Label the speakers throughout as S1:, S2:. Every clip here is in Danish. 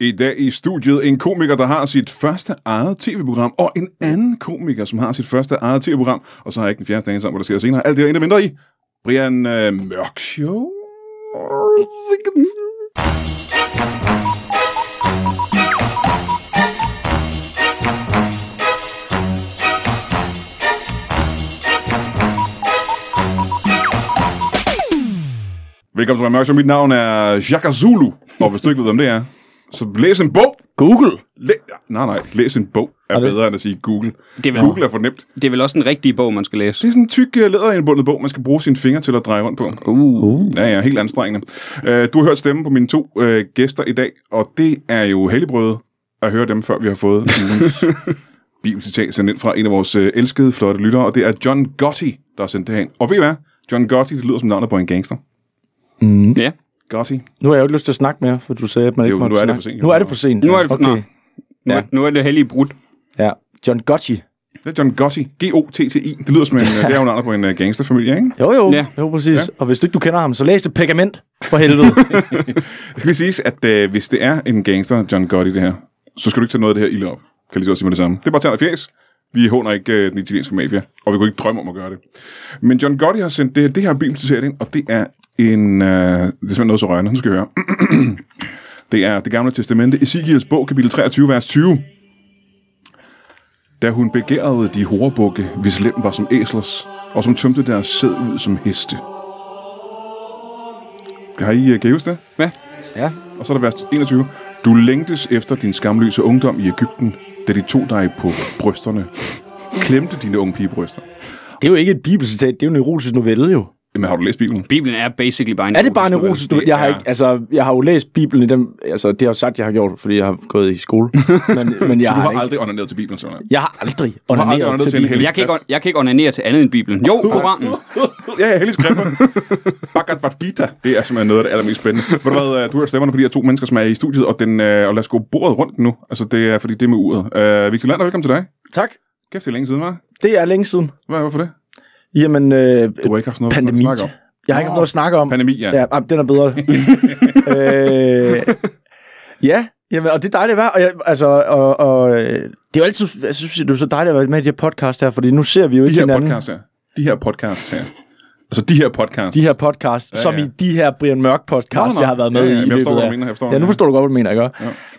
S1: I dag i studiet en komiker, der har sit første eget tv-program, og en anden komiker, som har sit første eget tv-program, og så har jeg ikke den fjerde stand sammen, hvor der sker senere. Alt det her endnu mindre i Brian øh, Mørk Show. Velkommen til Brian Mørk Show. Mit navn er Jacques Zulu, og hvis du ikke ved, hvem det er, så læs en bog.
S2: Google.
S1: Læ- nej, nej, læs en bog er
S2: det-
S1: bedre end at sige Google.
S3: Det er, vel,
S1: Google er for nemt.
S3: det er vel også en rigtig bog, man skal læse.
S1: Det er sådan en tyk øh, læderindbundet bog, man skal bruge sine fingre til at dreje rundt på.
S3: Uh.
S1: Ja, ja, helt anstrengende. Øh, Du har hørt stemmen på mine to øh, gæster i dag, og det er jo helligbrøde at høre dem, før vi har fået ugens bibelcitat sendt ind fra en af vores øh, elskede, flotte lyttere, og det er John Gotti, der har sendt det hen. Og ved I hvad? John Gotti, det lyder som navnet på en gangster.
S2: Mm.
S3: Ja.
S1: Gotti.
S2: Nu har jeg jo ikke lyst til at snakke mere, for du sagde, at
S1: Det
S2: man
S1: er
S2: ikke
S1: jo-
S2: måtte
S1: nu er det
S2: snakke.
S1: for sent, jo.
S2: Nu er det for sent.
S3: Nu
S2: ja.
S3: er det for-
S2: okay.
S3: Nu,
S2: Ja.
S3: nu er det hellige brudt.
S2: Ja. John Gotti.
S1: Det er John Gotti. G-O-T-T-I. Det lyder som en, øh, det er jo navnet på en øh, gangsterfamilie, ikke?
S2: Jo, jo.
S3: Ja.
S2: Ja. Jo, præcis. Ja. Og hvis du ikke du kender ham, så læs det pergament for helvede.
S1: Det skal lige siges, at øh, hvis det er en gangster, John Gotti, det her, så skal du ikke tage noget af det her ilde op. Kan jeg lige så godt sige med det samme. Det er bare tænder og fjæs. Vi håner ikke øh, den italienske mafia, og vi kunne ikke drømme om at gøre det. Men John Gotti har sendt det, her- det her bibelcitat ind, og det er en... Øh, det er simpelthen noget så rørende, nu skal I høre. det er det gamle testamente, Ezekiels bog, kapitel 23, vers 20. Da hun begærede de horebukke, hvis lem var som æslers, og som tømte deres sæd ud som heste. Kan I, øh, kan I huske det?
S3: Hvad?
S2: ja.
S1: Og så er der vers 21. Du længtes efter din skamløse ungdom i Ægypten, da de tog dig på brysterne. Klemte dine unge pigebryster.
S2: Det er jo ikke et bibelcitat, det er jo en erotisk novelle jo.
S1: Jamen, har du læst Bibelen?
S3: Bibelen er basically bare en
S2: Er det bare en
S3: erotisk
S2: erotisk
S3: novelle.
S2: novelle? Jeg har,
S1: Det er-
S2: ikke, altså, jeg har jo læst Bibelen i den... Altså, det har jeg jo sagt, jeg har gjort, fordi jeg har gået i skole. Men, men jeg
S1: Så du
S2: har,
S1: har
S2: ikke...
S1: aldrig onaneret til Bibelen, sådan
S2: Jeg har aldrig
S1: aldrig
S2: onaneret
S1: onaneret
S2: til
S1: til en
S2: Bibelen.
S1: hellig-
S3: Jeg kan, ikke, on- jeg kan ikke onanere til andet end Bibelen. Jo, Koranen.
S1: Ja, ja, hellig skrifter. Bhagavad Gita. Det er simpelthen noget af det allermest spændende. Ved du hvad, øh, du hører stemmerne på de her to mennesker, som er i studiet, og, den, øh, og lad os gå bordet rundt nu. Altså, det er fordi, det er med uret. Øh, Victor Lander, velkommen til dig.
S2: Tak.
S1: Kæft, det er længe siden, hva'?
S2: Det er længe siden.
S1: Hvad, hvorfor det?
S2: Jamen, øh,
S1: Du har ikke haft noget at
S2: pandemi.
S1: snakke om.
S2: Jeg har ikke haft noget at snakke om.
S1: Pandemi, ja.
S2: Ja, ej, den er bedre. øh, ja, jamen, og det er dejligt at være. Og, jeg, altså, og, og, øh, det er jo altid, jeg synes, det er så dejligt at være med i de her podcast her, fordi nu ser vi jo
S1: De
S2: ikke
S1: her
S2: hinanden.
S1: podcasts her. De her podcasts her. Altså, de her podcasts.
S2: De her podcast, ja,
S1: Ja,
S2: ja. som
S1: ja.
S2: i de her Brian Mørk podcast,
S1: Nå, nå.
S2: jeg har været med
S1: Ja, ja,
S2: i. i
S1: men jeg forstår, hvad
S2: løbet
S1: du
S2: af-
S1: mener, jeg forstår,
S2: ja, nu
S1: ja.
S2: forstår du godt, hvad du mener, ikke? Ja.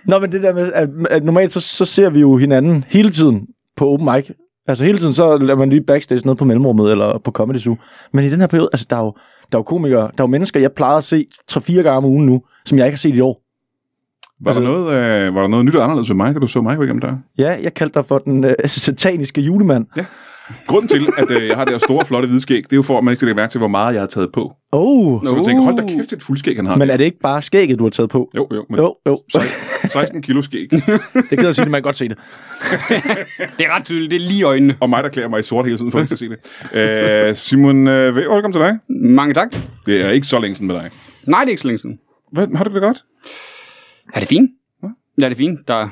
S2: Nå, men det der med, at, at normalt så, så ser vi jo hinanden hele tiden på open mic. Altså hele tiden, så lader man lige backstage nede på mellemrummet eller på Comedy Zoo. Men i den her periode, altså der er jo, der er jo komikere, der er jo mennesker, jeg plejer at se 3-4 gange om ugen nu, som jeg ikke har set i år.
S1: Var, altså, der
S2: Altså-
S1: noget, øh, var der noget nyt og anderledes ved mig, da du så mig gå igennem der?
S2: Ja, jeg kaldte dig for den øh, sataniske julemand.
S1: Grunden til, at øh, jeg har det her store, flotte hvide skæg, det er jo for, at man ikke skal lægge mærke til, hvor meget jeg har taget på.
S2: Oh,
S1: Så
S3: Nå.
S1: man tænker, hold da kæft, det er et fuldskæg, han har.
S2: men er det ikke bare skægget, du har taget på?
S1: Jo, jo, men jo.
S2: Jo, jo.
S1: 16 kilo skæg.
S2: Det kan jeg sige, det man kan godt se det.
S3: Det er ret tydeligt. Det er lige i øjnene.
S1: Og mig, der klæder mig i sort hele tiden, for at ikke at se det. Øh, Simon, øh, Væver, velkommen til dig.
S3: Mange tak.
S1: Det er ikke så længe siden med dig.
S3: Nej, det er ikke så længe siden.
S1: Hvad, har du det godt?
S3: Er det fint? Ja, det er fint. Der...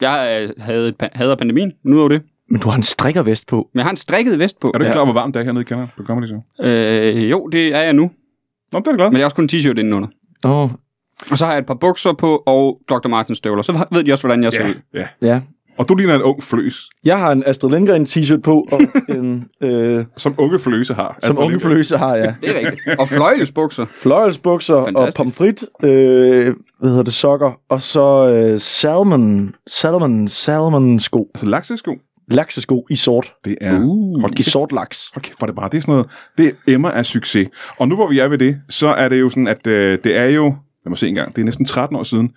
S3: Jeg øh, havde, pa- hader pandemien, men nu er det.
S2: Men du har en strikkervest på.
S3: Men jeg har en strikket vest på.
S1: Er du ikke
S2: Ja.
S1: klar over, hvor varmt det er hernede i kælderen på Comedy Zoo?
S3: Øh, jo, det er jeg nu.
S1: Nå, men det er jeg glad.
S3: Men jeg har også kun en t-shirt indenunder.
S2: Åh, oh,
S3: Og så har jeg et par bukser på og Dr. Martens støvler. Så ved de også, hvordan jeg ser ud.
S1: ja.
S2: ja.
S1: Og du ligner en ung fløs,
S2: Jeg har en Astrid Lindgren t-shirt på, og en, øh,
S1: som unge fløse har. Altså,
S2: som unge forløse har jeg.
S3: Det er rigtigt. Og fløjelsbukser.
S2: Fløjelsbukser og
S3: Fantastisk.
S2: pomfrit, øh, hvad hedder det, sokker, og så øh, salmon, salmon, salmon sko,
S1: Altså laksesko,
S2: laksesko i sort,
S1: det er... Uh, hold
S2: i
S1: kæft,
S2: sort laks.
S1: Hold kæft, hvor er det bare. Det er sådan noget, det emmer af succes. Og nu hvor vi er ved det, så er det jo sådan, at øh, det er jo, lad mig se en gang, det er næsten 13 år siden,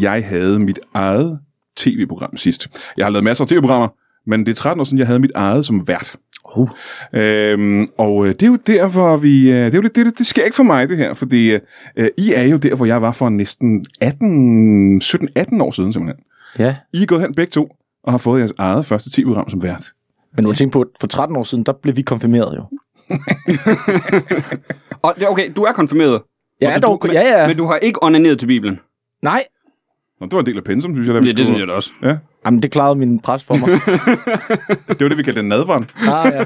S1: jeg havde mit eget tv-program sidst. Jeg har lavet masser af tv-programmer, men det er 13 år siden, jeg havde mit eget som vært.
S2: Oh.
S1: Øhm, og øh, det er jo der, hvor vi... Øh, det, er jo lidt, det, det, det sker ikke for mig, det her, fordi øh, øh, I er jo der, hvor jeg var for næsten 18, 17-18 år siden simpelthen.
S2: Ja,
S1: I er gået hen begge to og har fået jeres eget første tv-program som vært.
S2: men nu tænk på, at for 13 år siden, der blev vi konfirmeret jo.
S3: Og det- okay, du er konfirmeret.
S2: Ja,
S3: Altså,
S2: dog,
S3: du, men,
S2: ja, ja.
S3: Men du har ikke onaneret til Bibelen.
S2: Nej,
S1: Nå, det var en del af pensum, synes jeg. da vi
S3: Ja, det
S1: skulle-
S3: synes jeg da også.
S1: Ja,
S2: Jamen, det klarede min pres for mig.
S1: det var det, vi kaldte en nadvaren.
S2: ah, ja.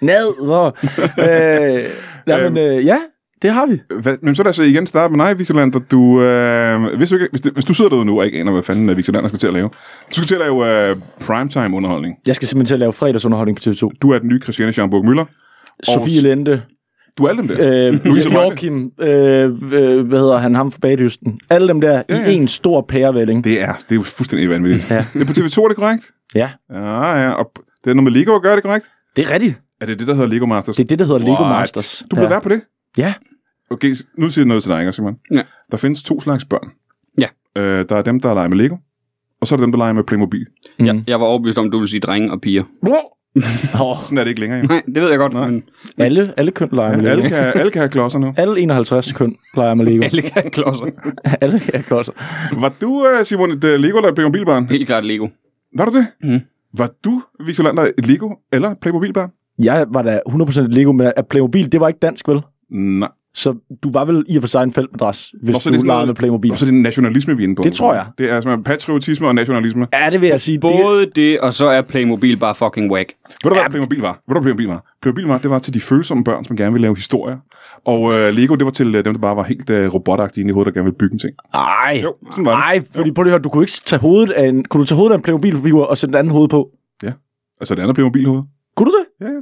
S2: Ned, hvor. Øh, nej, men, øh, ja, Det har vi.
S1: Hvad, men så lad os igen starte med dig, Victor Lander. Du, øh, hvis, du ikke, hvis, det, hvis du sidder derude nu og ikke aner, hvad fanden øh, Victor Lander skal til at lave, så skal du til at lave øh, primetime-underholdning.
S2: Jeg skal simpelthen til at lave fredagsunderholdning på TV2.
S1: Du er den nye Christiane Schaumburg Møller.
S2: Sofie Lente,
S1: Du er alle dem der.
S2: øh,
S1: Louise Brønde.
S2: Joachim, øh, øh, hvad hedder han, ham fra Bagdysten. Alle dem der
S1: Ja,
S2: ja,
S1: ja.
S2: ja. i en stor pærevælling.
S1: Det er, det er jo fuldstændig vanvittigt.
S2: Ja.
S1: Det er på TV2, er det korrekt?
S2: Ja,
S1: Ja, ja. Og p- det er noget med Lego at gøre, er det korrekt?
S2: det er rigtigt.
S1: Er det det, der hedder Lego Masters?
S2: Det er det, der hedder Lego
S1: What?
S2: Masters.
S1: Du blev
S2: ja.
S1: ja. vært på det?
S2: Ja.
S1: Okay, s- nu siger jeg noget til dig, ikke, Simon?
S3: Ja.
S1: Der findes to slags børn.
S3: Ja.
S1: Øh, der er dem, der leger med Lego, og så er der dem, der leger med Playmobil.
S2: Mm.
S3: Ja, jeg var overbevist om, at du ville sige drenge og piger.
S2: Oh,
S1: Sådan er det ikke længere. jo.
S3: Nej, det ved jeg godt,
S1: Nej.
S3: Nej. men
S2: alle, alle køn leger med
S1: Alle
S2: Lego.
S1: kan, alle kan have klodser nu.
S2: Alle 51 køn leger med Lego.
S3: alle kan klodser.
S2: alle kan klodser.
S1: Var du, øh, Simon, et øh, Lego eller et Playmobil-barn?
S3: Helt klart Lego.
S2: Mm.
S1: Var du det?
S3: Mhm.
S1: Var du, Victor Lander, et Lego eller Playmobil-barn?
S2: Jeg var da 100% Lego, men at Playmobil, det var ikke dansk, vel?
S1: Nej.
S2: Så du var vel i og for sig en feltmadras, hvis
S1: Nå, så er det
S2: du
S1: sådan
S2: legede
S1: noget-
S2: med Playmobil.
S1: Og så er det nationalisme, vi er inde på.
S2: Det tror jeg.
S1: Det er simpelthen patriotisme og nationalisme.
S2: Ja, det vil jeg sige. Det,
S3: Både det, og så er Playmobil bare fucking whack.
S1: Ved du, hvad Playmobil var? Ved du, hvad Playmobil var? Playmobil var, det var til de følsomme børn, som gerne ville lave historier. Og øh, Lego, det var til øh, dem, der bare var helt øh, robotagtige inde i hovedet, der gerne ville bygge en ting.
S2: ej,
S1: Jo, sådan var det.
S2: ej, fordi prøv lige at høre, du kunne ikke tage hovedet af en, kunne du tage hovedet af en Playmobil-figur og sætte et andet hoved på?
S1: Altså det andet Playmobil hoved.
S2: Kunne du det?
S1: Ja, ja.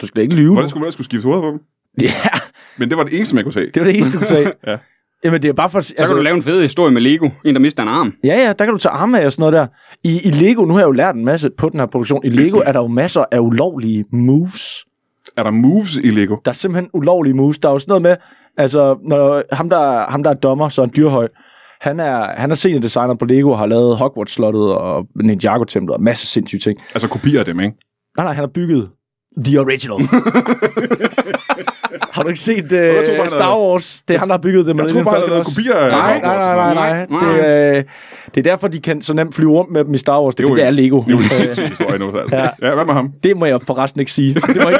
S2: Du skal da ikke lyve.
S1: Hvordan skulle man ellers skulle skifte hovedet på dem?
S2: Ja,
S1: Men det var det eneste, man kunne se.
S2: det var det eneste, du kunne tage.
S1: Ja.
S2: Jamen, det er bare for...
S3: Så altså, kan du lave en fed historie med Lego. En, der mister en arm.
S2: Ja, ja, der kan du tage arme af og sådan noget der. I, I Lego, nu har jeg jo lært en masse på den her produktion. I Lego er der jo masser af ulovlige moves.
S1: Er der moves i Lego?
S2: Der er simpelthen ulovlige moves. Der er jo sådan noget med, altså, når ham der, ham der er dommer, Søren Dyrhøj, han er, han er senior designer på Lego og har lavet Hogwarts-slottet og Ninjago-templet og masser af sindssyge ting.
S1: Altså kopier af dem, ikke?
S2: Nej, nej, han har bygget The Original. har du ikke set uh,
S1: jeg troede bare, han
S2: Star
S1: havde-
S2: Wars? Det er han, der har bygget det.
S1: Jeg tror bare, der er lavet kopier af
S2: Nej,
S1: Hogwarts
S2: nej,
S1: og sådan
S2: nej,
S1: noget.
S2: nej, nej.
S3: Nej,
S2: Det, er, øh, det er derfor, de kan så nemt flyve rundt med dem i Star Wars. Det er,
S1: Det er
S2: fordi, det
S1: jo
S2: er Lego.
S1: Det er jo en sindssyg historie nu, altså. Ja.
S2: Ja.
S1: ja, hvad med ham?
S2: Det må jeg forresten ikke sige. Det må jeg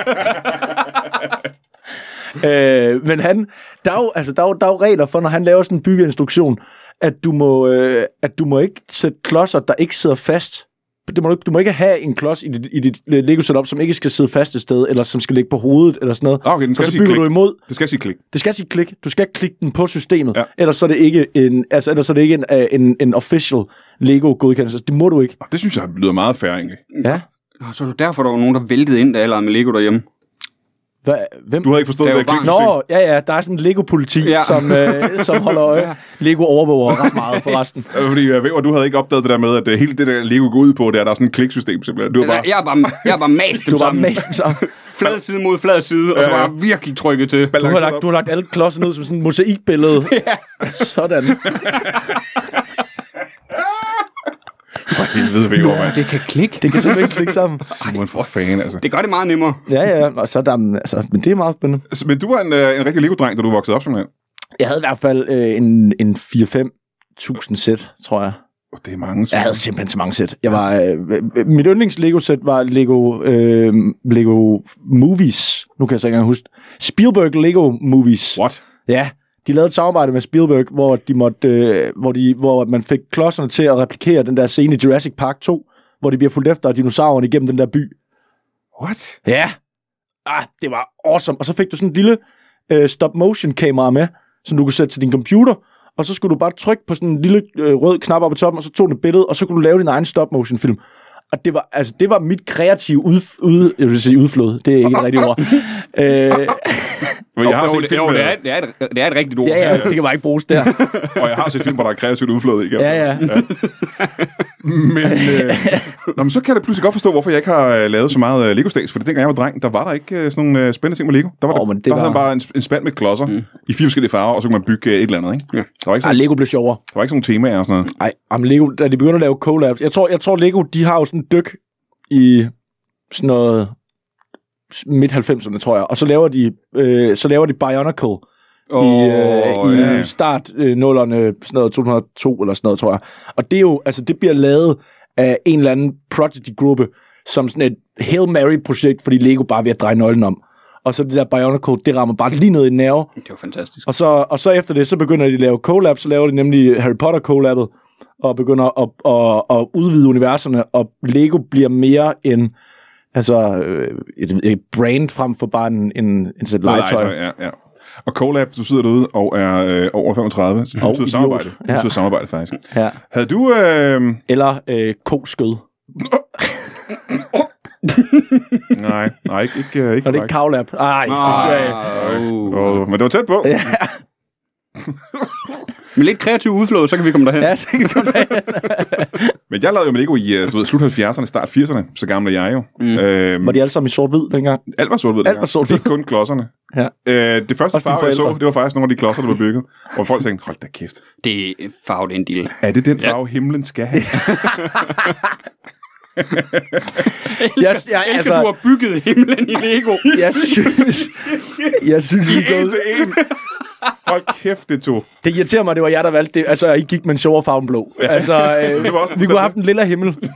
S2: ikke. øh, men han, der er, jo, altså, der, er jo, der er jo regler for, når han laver sådan en byggeinstruktion, at du må, øh, at du må ikke sætte klodser, der ikke sidder fast. Det må du, ikke- du må ikke have en klods i dit, i dit øh, Lego setup, som ikke skal sidde fast et sted, eller som skal ligge på hovedet, eller sådan noget.
S1: Ah, okay, den
S2: Og
S1: skal
S2: så
S1: sige
S2: bygger
S1: klik.
S2: du imod.
S1: Det skal sige klik.
S2: Det skal sige klik. Du skal klikke den på systemet.
S1: Ja.
S2: Ja. Ellers så er det ikke en, altså, ellers så er det ikke en, øh, en, en official Lego-godkendelse. Det må du ikke.
S1: Og Ah, Det synes jeg lyder meget fair, egentlig.
S2: Ja.
S3: Nå, Så er det derfor, der var nogen, der væltede ind, da jeg legede med Lego derhjemme.
S2: Hva, hvem?
S1: Du havde ikke forstået
S3: Det
S1: det,
S3: er
S1: det
S3: jo
S1: klik.
S2: Nå, ja, ja, der er sådan en Lego-politi, ja.
S3: Ja.
S2: som, øh, som holder øje. Lego overvåger ret meget forresten.
S1: Øh, Fordi jeg ved, at du havde ikke opdaget det der med, at øh, hele det der Lego går ud på, det er, at der er sådan et kliksystem simpelthen. Du er
S3: Jeg,
S1: bare,
S3: jeg, er bare, jeg er bare mast dem
S2: Du var
S3: sammen.
S2: mest sammen.
S3: Flad side mod flad side, og så
S1: Ja,
S3: var
S1: ja.
S3: jeg virkelig trykket til.
S2: Du har,
S1: balanceret
S2: lagt,
S1: op.
S2: du har lagt alle klodserne ud som sådan et mosaikbillede. ja. Sådan.
S1: For helvede, ved jeg, mand.
S3: Det kan klikke.
S2: Det kan simpelthen ikke klikke sammen.
S1: Simon, for fanden, altså.
S3: Det gør det meget nemmere.
S2: Ja, ja, og så er der, altså, men det er meget spændende.
S1: Så- Men du var en, øh, en rigtig Lego-dreng, da du voksede op, simpelthen.
S2: Jeg havde i hvert fald øh, en, en 4-5 tusind sæt, tror jeg.
S1: Oh, det er mange.
S2: Jeg havde simpelthen så mange sæt. Jeg var, øh, øh, mit yndlings Lego-sæt var Lego, øh, Lego Movies. Nu kan jeg så ikke engang huske. Spielberg Lego Movies.
S1: What?
S2: Ja, de lavede et samarbejde med Spielberg, hvor, de måtte, øh, hvor, de, hvor man fik klodserne til at replikere den der scene i Jurassic Park 2, hvor de bliver fulgt efter af dinosaurerne igennem den der by.
S1: What?
S2: Ja. Ah, det var awesome. Og så fik du sådan en lille øh, stop-motion-kamera med, som du kunne sætte til din computer, og så skulle du bare trykke på sådan en lille øh, rød knap oppe i toppen, og så tog den et billede, og så kunne du lave din egen stop-motion-film. Og det var, altså, det var mit kreative ud, ud, jeg vil sige udflod. Det er ikke et rigtigt ord. Øh,
S1: Men jeg har
S3: Jo,
S1: set
S3: det,
S1: film, øh,
S3: jo, det, er,
S1: med,
S3: det, er et, det er et rigtigt ord.
S2: ja, ja, det kan bare ikke bruges der.
S1: og jeg har set film, hvor der er kreativt udflået igennem.
S2: Ja, Ah, ja.
S1: Men, øh, nå, men så kan jeg da pludselig godt forstå, hvorfor jeg ikke har øh, lavet så meget øh, Lego-stats. For dengang jeg var dreng, der var der ikke øh, sådan nogle øh, spændende ting med Lego. Der, var
S2: Åh,
S1: der,
S2: men
S1: det
S2: det
S1: der
S2: var-
S1: havde man bare en, en spand med klodser mm. i fire forskellige farver, og så kunne man bygge øh, et eller andet. Ikke?
S3: Ja.
S1: Der, var ikke
S2: Ej,
S1: sådan,
S2: Lego blev sjovere.
S1: der var ikke sådan nogle temaer og sådan noget.
S2: Nej, jamen Lego, da de begynder at lave collabs. Jeg tror, jeg tror Lego, de har jo sådan en dyk i sådan noget midt-90'erne, tror jeg. Og så laver de, øh, så laver de Bionicle oh, i, øh, i
S1: ja, ja.
S2: ja. start øh, 0'erne, sådan noget 202 eller sådan noget, tror jeg. Og det er jo, altså det bliver lavet af en eller anden Prodigy-gruppe, som sådan et Hail Mary-projekt, fordi Lego bare er ved at dreje nøglen om. Og så det der Bionicle, det rammer bare lige ned i nerve,
S3: Det var fantastisk.
S2: og så, og så efter det, så begynder de at lave collabs, så laver de nemlig Harry Potter collabet, og begynder at, at, at, udvide universerne, og Lego bliver mere en Altså øh, et, et brand frem for bare en, en, en sæt legetøj.
S1: ja, ja. Og Colab, du sidder derude og er øh, over 35, så det
S2: Og
S1: betyder
S2: idiot.
S1: samarbejde. Det
S2: Ja.
S1: betyder samarbejde, faktisk.
S2: Ja.
S1: Havde du... Øh...
S2: Eller øh, koskød.
S1: Nej, nej, ikke, ikke, øh, ikke,
S2: Når det er
S1: ikke
S2: kavlap. Ej, så skal jeg...
S3: Ah, uh.
S1: oh, Men det var tæt på.
S2: Ja.
S3: Med lidt kreativ udflåd, så kan vi komme derhen.
S2: Ja, så kan vi komme derhen.
S1: Men jeg lavede jo med Lego i øh, du ved, slut 70'erne, start 80'erne. Så gammel er jeg jo.
S3: Mm.
S1: Øhm,
S2: Var de alle sammen i sort-hvid dengang?
S1: Alt var sort-hvid.
S2: Alt
S1: dengang.
S2: var sort-hvid.
S1: Ikke kun klodserne.
S2: Ja.
S1: Øh, det første
S2: Også dine
S1: farve, jeg så,
S2: forældre.
S1: det var faktisk nogle af de klodser, der blev bygget. Og folk tænkte, hold da kæft.
S3: Det er farvet en del.
S1: Er det den farve, himlen skal have?
S2: Jeg, jeg,
S3: Jeg elsker, altså... du har bygget himlen i Lego.
S2: jeg synes, jeg synes I er
S1: en
S2: gået.
S1: til en. Hold kæft, det to.
S2: Det irriterer mig, det var jeg, der valgte det. Altså, I gik med en sjovere farve end blå. Altså, øh,
S1: Det var også-
S2: vi kunne have haft en lilla himmel. Vi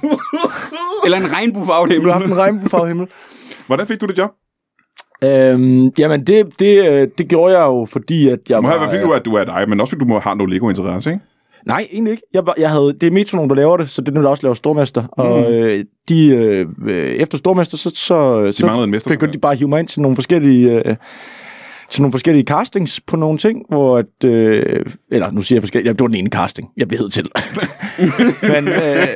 S3: Eller en regnbuefarvet himmel.
S2: kunne have haft en regnbuefarvet himmel.
S1: Hvordan fik du det job?
S2: Øhm, jamen, det, det, øh, det gjorde jeg jo, fordi at jeg
S1: Du må have
S2: var... øh,
S1: været fint, du er, du er dig, men også fordi du må have noget Lego-interesse, ikke?
S2: Nej, egentlig ikke. Jeg, var, jeg havde, det er Metronom, der laver det, så det er dem, der også laver Stormester. Og øh, de, øh, øh, efter Stormester, så, så,
S1: Mm. De
S2: så
S1: manglede en mester.
S2: begyndte de bare at hive mig ind til nogle forskellige... Øh, til nogle forskellige castings på nogle ting, hvor at, øh, eller nu siger jeg forskellige, ja, det var den ene casting, jeg blev hed til. men, øh,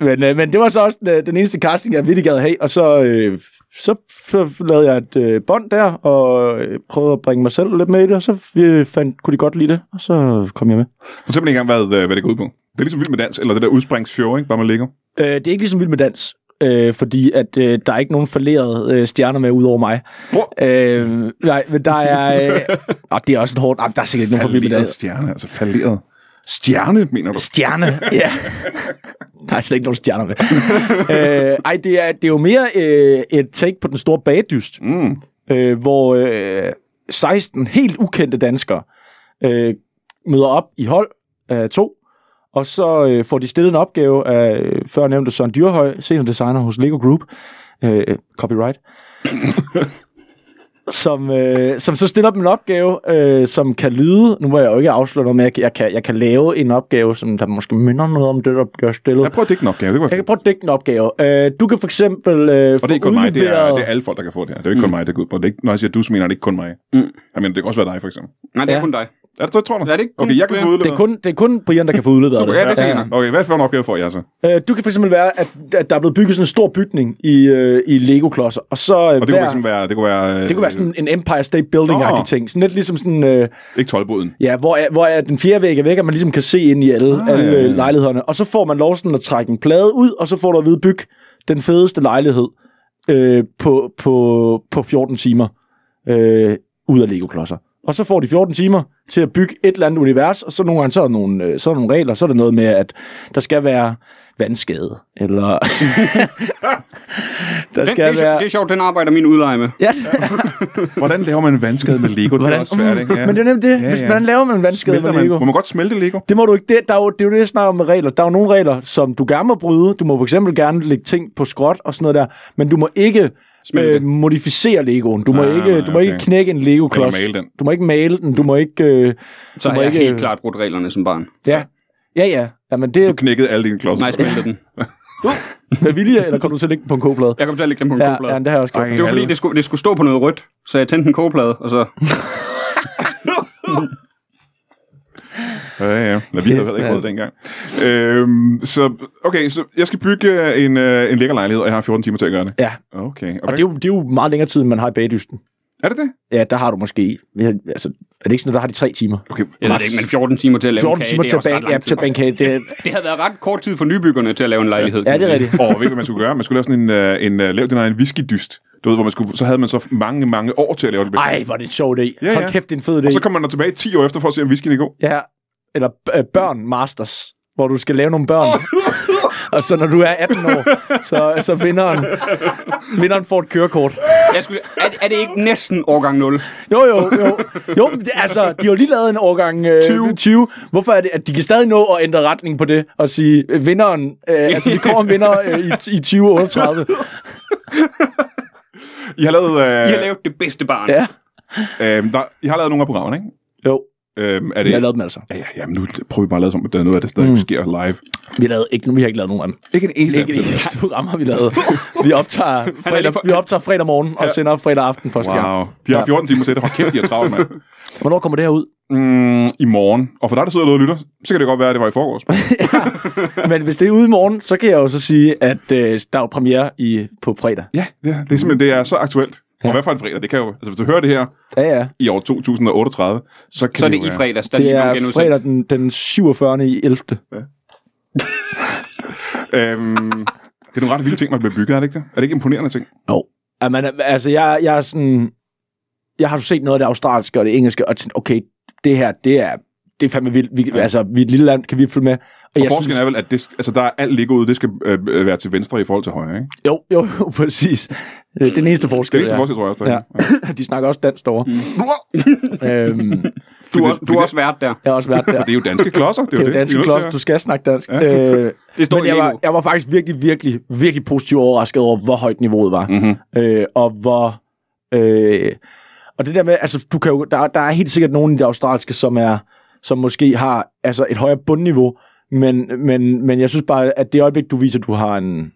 S2: men, øh, men det var så også den, den eneste casting, jeg virkelig gad have, og så, øh, så, så lavede jeg et øh, bånd der, og øh, prøvede at bringe mig selv lidt med i det, og så øh, fandt, kunne de godt lide det, og så kom jeg med.
S1: Fortæl mig lige engang, hvad, øh, hvad det går ud på. Det er ligesom Vild med Dans, eller det der udspringsshow, ikke? Bare med Lego.
S2: Øh, det er ikke ligesom Vild med Dans, øh, fordi at øh, der er ikke nogen falderede øh, stjerner med udover mig.
S1: Hvor?
S2: Øh, nej, men der er... Øh, åh, det er også et hårdt... Ah, der er sikkert ikke nogen fra Vild med
S1: Falderet
S2: Dans.
S1: stjerne, altså falderet. Stjerne, mener du?
S2: Stjerne, ja. Der er slet ikke nogen stjerner med. øh, ej, det er, det er jo mere øh, et take på den store bagdyst,
S1: Mm.
S2: øh, hvor øh, 16 helt ukendte danskere øh, møder op i hold af to, og så øh, får de stillet en opgave af øh, før nævnte Søren Dyrhøj, senior designer hos Lego Group, øh, copyright, som, øh, som så stiller dem en opgave, øh, som kan lyde, nu må jeg jo ikke afsløre noget, men jeg, kan- jeg, kan, jeg kan lave en opgave, som der måske minder noget om det, der bliver stillet.
S1: Jeg prøver at dække en opgave, det var
S2: Jeg kan prøve at dække en opgave. Øh, du kan for eksempel øh,
S1: Og det er ikke kun mig, det er, det er alle folk, der kan få det her. Det er jo ikke kun mig, der går ud på det. er Ikke, når jeg siger du, så mener jeg, det er ikke kun mig.
S3: Mm.
S1: Jeg mener, det kan også være dig, for eksempel.
S3: Nej, det er
S2: Ja.
S3: kun dig.
S1: Er det så, tror du?
S3: Er det ikke kun
S1: okay, jeg kan få
S3: Brian?
S2: Det er,
S1: udleveret.
S2: kun, det er kun Brian, der kan få udleveret det.
S3: Ja, det tænker jeg.
S1: Okay, hvad for en opgave får jeg så? Og
S2: Øh, du kan for eksempel være, at, at der er blevet bygget sådan en stor bygning i, øh, i Lego-klodser, og så øh,
S1: det kunne
S2: hver,
S1: eksempel være... Det kunne være, øh,
S2: det kunne være sådan en Empire State Building-agtig
S1: Nå.
S2: ting. Sådan lidt ligesom sådan, øh,
S1: Ikke tolvboden.
S2: ja, hvor, er, hvor er den fjerde væg er væk, og man ligesom kan se ind i alle,
S1: Ah,
S2: ah, alle
S1: ja,
S2: ja,
S1: ja.
S2: lejlighederne. Og så får man lov sådan at trække en plade ud, og så får du at vide, byg den fedeste lejlighed øh, på, på, på 14 timer øh, ud af Lego-klodser. Og så får de 14 timer til at bygge et eller andet univers, og så nogle gange så er der nogle, øh, så er der nogle regler, så er der noget med, at der skal være vandskade, eller der
S3: Den, det,
S2: skal
S3: er,
S2: være...
S3: være... det er sjovt, den arbejder min udlejer med.
S2: Ja,
S1: Hvordan laver man en vandskade med Lego? Det er
S2: hvordan,
S1: også svært, ikke?
S2: men det er nemlig det.
S1: Ja,
S2: Hvis,
S1: ja.
S2: Hvordan laver man en vandskade
S1: Smelter
S2: med Lego?
S1: Man, må man godt smelte Lego?
S2: Det må du ikke. Det, der er jo, det er jo det, jeg snakker om med regler. Der er jo nogle regler, som du gerne må bryde. Du må for eksempel gerne lægge ting på skråt og sådan noget der, men du må ikke
S3: Smelte.
S2: øh, modificere Legoen. Du må,
S1: Ah,
S2: ikke, du må
S1: okay.
S2: ikke knække en Lego-klods.
S1: Eller male den.
S2: Du må ikke male den. Du må ikke...
S3: Så
S2: Øh, du
S3: har
S2: må
S3: jeg
S2: ikke,
S3: helt klart brudt reglerne som barn.
S2: Ja, ja. ja. Jamen, det
S1: Du
S2: er
S1: knækkede alle dine klodser.
S3: Nej, smeltede den.
S2: med vilje, eller kom du til at lægge den på en kogeplade?
S3: Jeg kom til at lægge den på en
S2: Ja,
S3: kogeplade.
S2: ja, det har jeg også gjort.
S1: Ej,
S3: Det var fordi, det skulle, det skulle stå på noget rødt, så jeg tændte en kogeplade, og så...
S1: Ja, ja. Nå, vi havde heller ikke råd dengang. Øhm, så, okay, så jeg skal bygge en, øh, en lækker lejlighed, og jeg har 14 timer til at gøre det.
S2: Ja,
S1: Okay.
S2: og
S1: okay.
S2: det er, jo, det er jo meget længere tid, end man har i bagdysten.
S1: Er det det?
S2: Ja, der har du måske... Altså, er det ikke sådan, at der har de tre timer?
S1: Okay.
S3: Jeg ved det ikke, men 14 timer til at lave en
S2: 14
S3: kage,
S2: timer
S3: det
S2: til
S3: er også
S2: at
S3: ret
S2: bage,
S3: lang
S2: ja,
S3: tid.
S2: til at bage en kage. Det,
S3: Det havde været ret kort tid for nybyggerne til at lave en lejlighed.
S2: ja,
S3: kan
S2: det er
S3: man sige.
S2: rigtigt.
S1: Og ved ikke, hvad man skulle gøre? Man skulle lave sådan en, øh, en øh, lav din egen whiskydyst. Du ved, hvor man skulle, så havde man så mange, mange år til at lave det. bedste.
S2: Ej, hvor er det en sjov idé.
S1: Ja,
S2: Ja,
S1: ja.
S2: Hold kæft, det er en fed idé.
S1: Og så kommer man der tilbage 10 år efter for at se, om whiskyen er god.
S2: Ja, eller øh, børn masters, hvor du skal lave nogle børn. og så når du er 18 år, så, så vinderen, vinderen får et kørekort.
S3: Jeg skulle, er, er det ikke næsten årgang 0?
S2: Jo, jo, jo. Jo, men det, altså, de har jo lige lavet en årgang øh,
S3: 20.
S2: 20. Hvorfor er det, at de kan stadig nå at ændre retning på det og sige, øh, vinderen, øh, altså vi kommer en vinder øh, i, i 2038.
S1: I har lavet, øh,
S3: I har lavet det bedste barn.
S2: Ja,
S1: øh, der, I har lavet nogle af programmerne, ikke?
S2: jo.
S1: Øhm, er
S2: Vi har
S1: det,
S2: lavet dem altså.
S1: ja, ja, ja, men nu prøver vi bare at lade som, at der er noget af det, der stadig mm. sker live.
S2: Vi, har lavet ikke, vi har ikke lavet nogen af dem.
S1: Ikke en eneste
S2: Ikke det eneste program har vi lavet. Vi optager fredag,
S3: for-
S2: vi optager fredag morgen og sender fredag aften første wow. gang.
S1: Wow. De har 14 timer til det. Hold kæft, de har travlt, mand.
S2: Hvornår kommer det her ud?
S1: Mm, I morgen. Og for dig, der sidder derude og lytter, så kan det godt være, at det var i forgårs.
S2: Men hvis det er ude i morgen, så kan jeg jo så sige, at øh, der er jo premiere i, på fredag.
S1: ja, ja, det er simpelthen det er så aktuelt. Og hvad for en fredag, det kan jo... Altså, hvis du hører det her
S2: Ja, ja.
S1: i år 2038, så kan
S3: Så er det
S1: jo
S3: i
S1: være-
S3: fredags, der
S2: Det
S3: lige blev
S2: er
S3: genudsendt.
S2: fredag den, den 47. i 11.
S1: Øhm, det er nogle ret vilde ting, man bliver bygget, er det ikke det? Er det ikke imponerende ting?
S2: Jo. Jamen, altså, jeg, jeg er sådan... Jeg har jo set noget af det australske og det engelske, og tænkt, okay, det her, det er, det er fandme vildt. Vi, ja. Altså, vi er et lille land, kan vi følge med?
S1: Og
S2: jeg
S1: forskellen synes... er vel, at det, altså, der er alt ligger ud, det skal øh, øh, være til venstre i forhold til højre, ikke?
S2: Jo, jo, jo, præcis. Øh, Det er den eneste
S1: Det er
S2: forskel,
S1: ikke så forskel, tror jeg også. der er.
S2: Ja. De snakker også dansk derovre. Mm. øhm,
S3: Du, er, også-
S1: Fordi
S3: du
S1: det-
S3: er også vært der.
S2: jeg har også været der.
S1: For det er jo danske klodser, det er jo
S2: Det er jo
S1: det.
S2: dansk
S1: vi nødt til
S2: klods,
S1: at-
S2: du skal snakke dansk. Ja. Øh,
S3: Det står
S2: men
S3: i
S2: jeg
S3: Lego.
S2: var, jeg var faktisk virkelig, virkelig, virkelig positivt overrasket over, hvor højt niveauet var.
S1: Mhm.
S2: Øh, og hvor... Øh, og det der med, altså, du kan jo, der, der er helt sikkert nogen i det australske, som er som måske har altså, et højere bundniveau, men, men, men jeg synes bare, at det øjeblik, du viser, at du har en,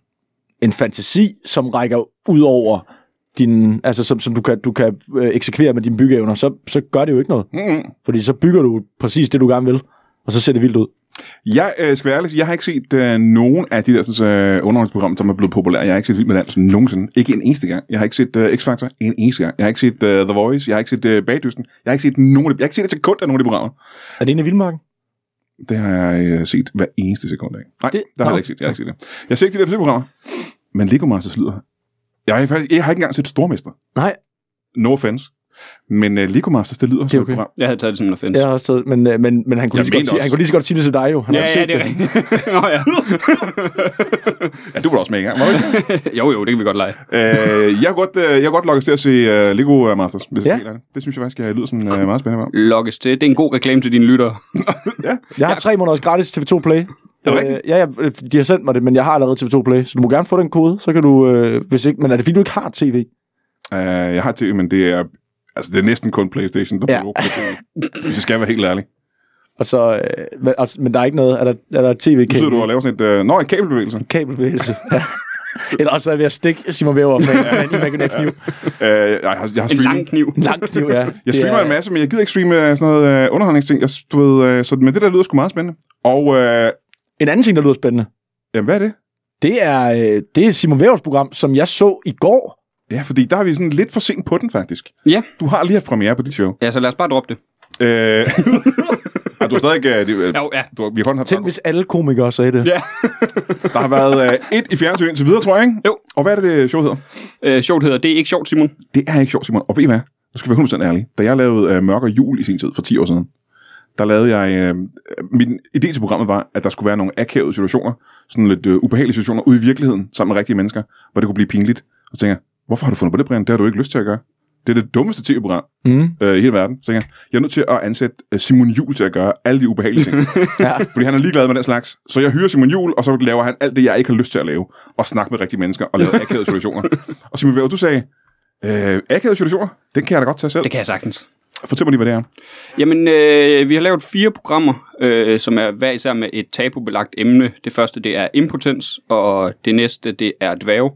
S2: en fantasi, som rækker ud over din, altså som, som du kan, du kan øh, eksekvere med dine byggeevner, så, så gør det jo ikke noget.
S1: Mhm.
S2: Fordi så bygger du præcis det, du gerne vil, og så ser det vildt ud.
S1: Jeg øh, skal være ærlig, jeg har ikke set øh, nogen af de der sådan, øh, underholdningsprogrammer, som er blevet populære. Jeg har ikke set Vild med Dans nogensinde. Ikke en eneste gang. Jeg har ikke set øh, X-Factor en eneste gang. Jeg har ikke set øh, The Voice. Jeg har ikke set øh, Bagdysten. Jeg har ikke set nogen af de, Jeg har ikke set et sekund af nogen af de programmer.
S2: Er det en af vildmarken?
S1: Det har jeg øh, set hver eneste sekund af. Nej, det,
S2: Det-
S1: der har
S2: nå.
S1: jeg ikke set. Jeg har ikke set det. Jeg har set de der programmer. Men Lego Masters lyder. Jeg har, faktisk, jeg har ikke engang set Stormester.
S2: Nej.
S1: No offense. Men øh, Lego Masters, det lyder det som
S2: okay.
S1: et program.
S3: Jeg havde taget det som en offense.
S2: Jeg har også taget, men, øh, men, men han, kunne
S1: Jeg
S2: lige så godt
S1: mente
S2: sige,
S1: også.
S2: han kunne lige så godt sige det til dig jo. Han
S3: Ja,
S2: har
S3: ja,
S2: set
S3: det er rigtigt. Nå, ja.
S1: Ja, du var da også med engang, var du ikke?
S3: jo, jo, det kan vi godt lege.
S1: øh, jeg kan godt, øh, jeg kan godt logges til at se øh, Lego øh, Masters, hvis
S2: Ja.
S1: ja. det. Det synes jeg faktisk jeg lyder som øh, meget spændende. program.
S3: Lokkes til. Det er en god reklame til dine lyttere.
S2: Jeg har tre måneders gratis TV2 Play.
S1: det
S2: Øh,
S1: rigtigt?
S2: ja, ja, øh, de har sendt mig det, men jeg har allerede TV2 Play, så du må gerne få den kode, så kan du, øh, hvis ikke, men er det fordi, du ikke har tv?
S1: Øh, jeg har TV, men det er, altså, det er næsten kun Playstation, der
S2: Ja.
S1: ja. bruger TV. Hvis jeg skal være helt ærlig.
S2: Og så, øh, men, altså, men der er ikke noget, er der,
S1: Nu sidder
S2: er der
S1: du og
S2: tv-kabel?
S1: laver sådan et, øh, nå, en kabelbevægelse.
S2: Kabelbevægelse, ja. Eller også er jeg ved at stikke Simon Væver med, med en imaginær kniv.
S1: Øh, jeg, har, jeg har
S3: En
S1: streaming.
S3: lang kniv.
S2: En lang kniv, ja.
S1: Jeg
S2: Det
S1: streamer
S2: er-
S1: en masse, men jeg gider ikke streame øh, sådan noget øh, underholdningsting. Jeg, du ved, øh, så, men det der lyder sgu meget spændende. Og øh,
S2: En anden ting, der lyder spændende,
S1: jamen, hvad er det?
S2: det er, øh, det er Simon Vævers program, som jeg så i går.
S1: Ja, fordi der er vi sådan lidt for sent på den, faktisk.
S3: Ja.
S1: Du har lige haft premiere på dit show.
S3: Ja, så lad os bare droppe det.
S1: Øh, ja, du har stadig ikke... Øh, det- øh,
S3: Jo, ja.
S1: du, har- vi har kun haft
S2: Tænk, hvis alle komikere sagde det.
S3: Ja.
S1: Der har været øh, et i fjernsynet indtil videre, tror jeg, ikke?
S3: Jo.
S1: Og hvad er det, det show hedder?
S3: Øh, sjovt hedder, det er ikke sjovt, Simon.
S1: Det er ikke sjovt, Simon. Og ved I hvad? Nu skal vi være 100% ærlige. Da jeg lavede øh, Mørk og Jul i sin tid, for 10 år siden, der lavede jeg... Øh, min idé til programmet var, at der skulle være nogle akavede situationer, sådan lidt øh, ubehagelige situationer ude i virkeligheden, sammen med rigtige mennesker, hvor det kunne blive pinligt. Og så tænker jeg, hvorfor har du fundet på det, Brian? Det har du ikke lyst til at gøre. Det er det dummeste tv-program
S2: Mm.
S1: øh, i hele verden. Så tænker jeg, jeg er nødt til at ansætte øh, Simon Jul til at gøre alle de ubehagelige ting.
S2: Ja.
S1: Fordi han er ligeglad med den slags. Så jeg hyrer Simon Jul, og så laver han alt det, jeg ikke har lyst til at lave. Og snakke med rigtige mennesker og lave akavede situationer. Og Simon Væver, du sagde, øh, akavede situationer, den kan jeg da godt tage selv.
S3: Det kan jeg sagtens.
S1: Fortæl mig lige, hvad det er.
S3: Jamen, øh, vi har lavet fire programmer, øh, som er hver især med et tabubelagt emne. Det første, det er impotens, og det næste, det er dværge.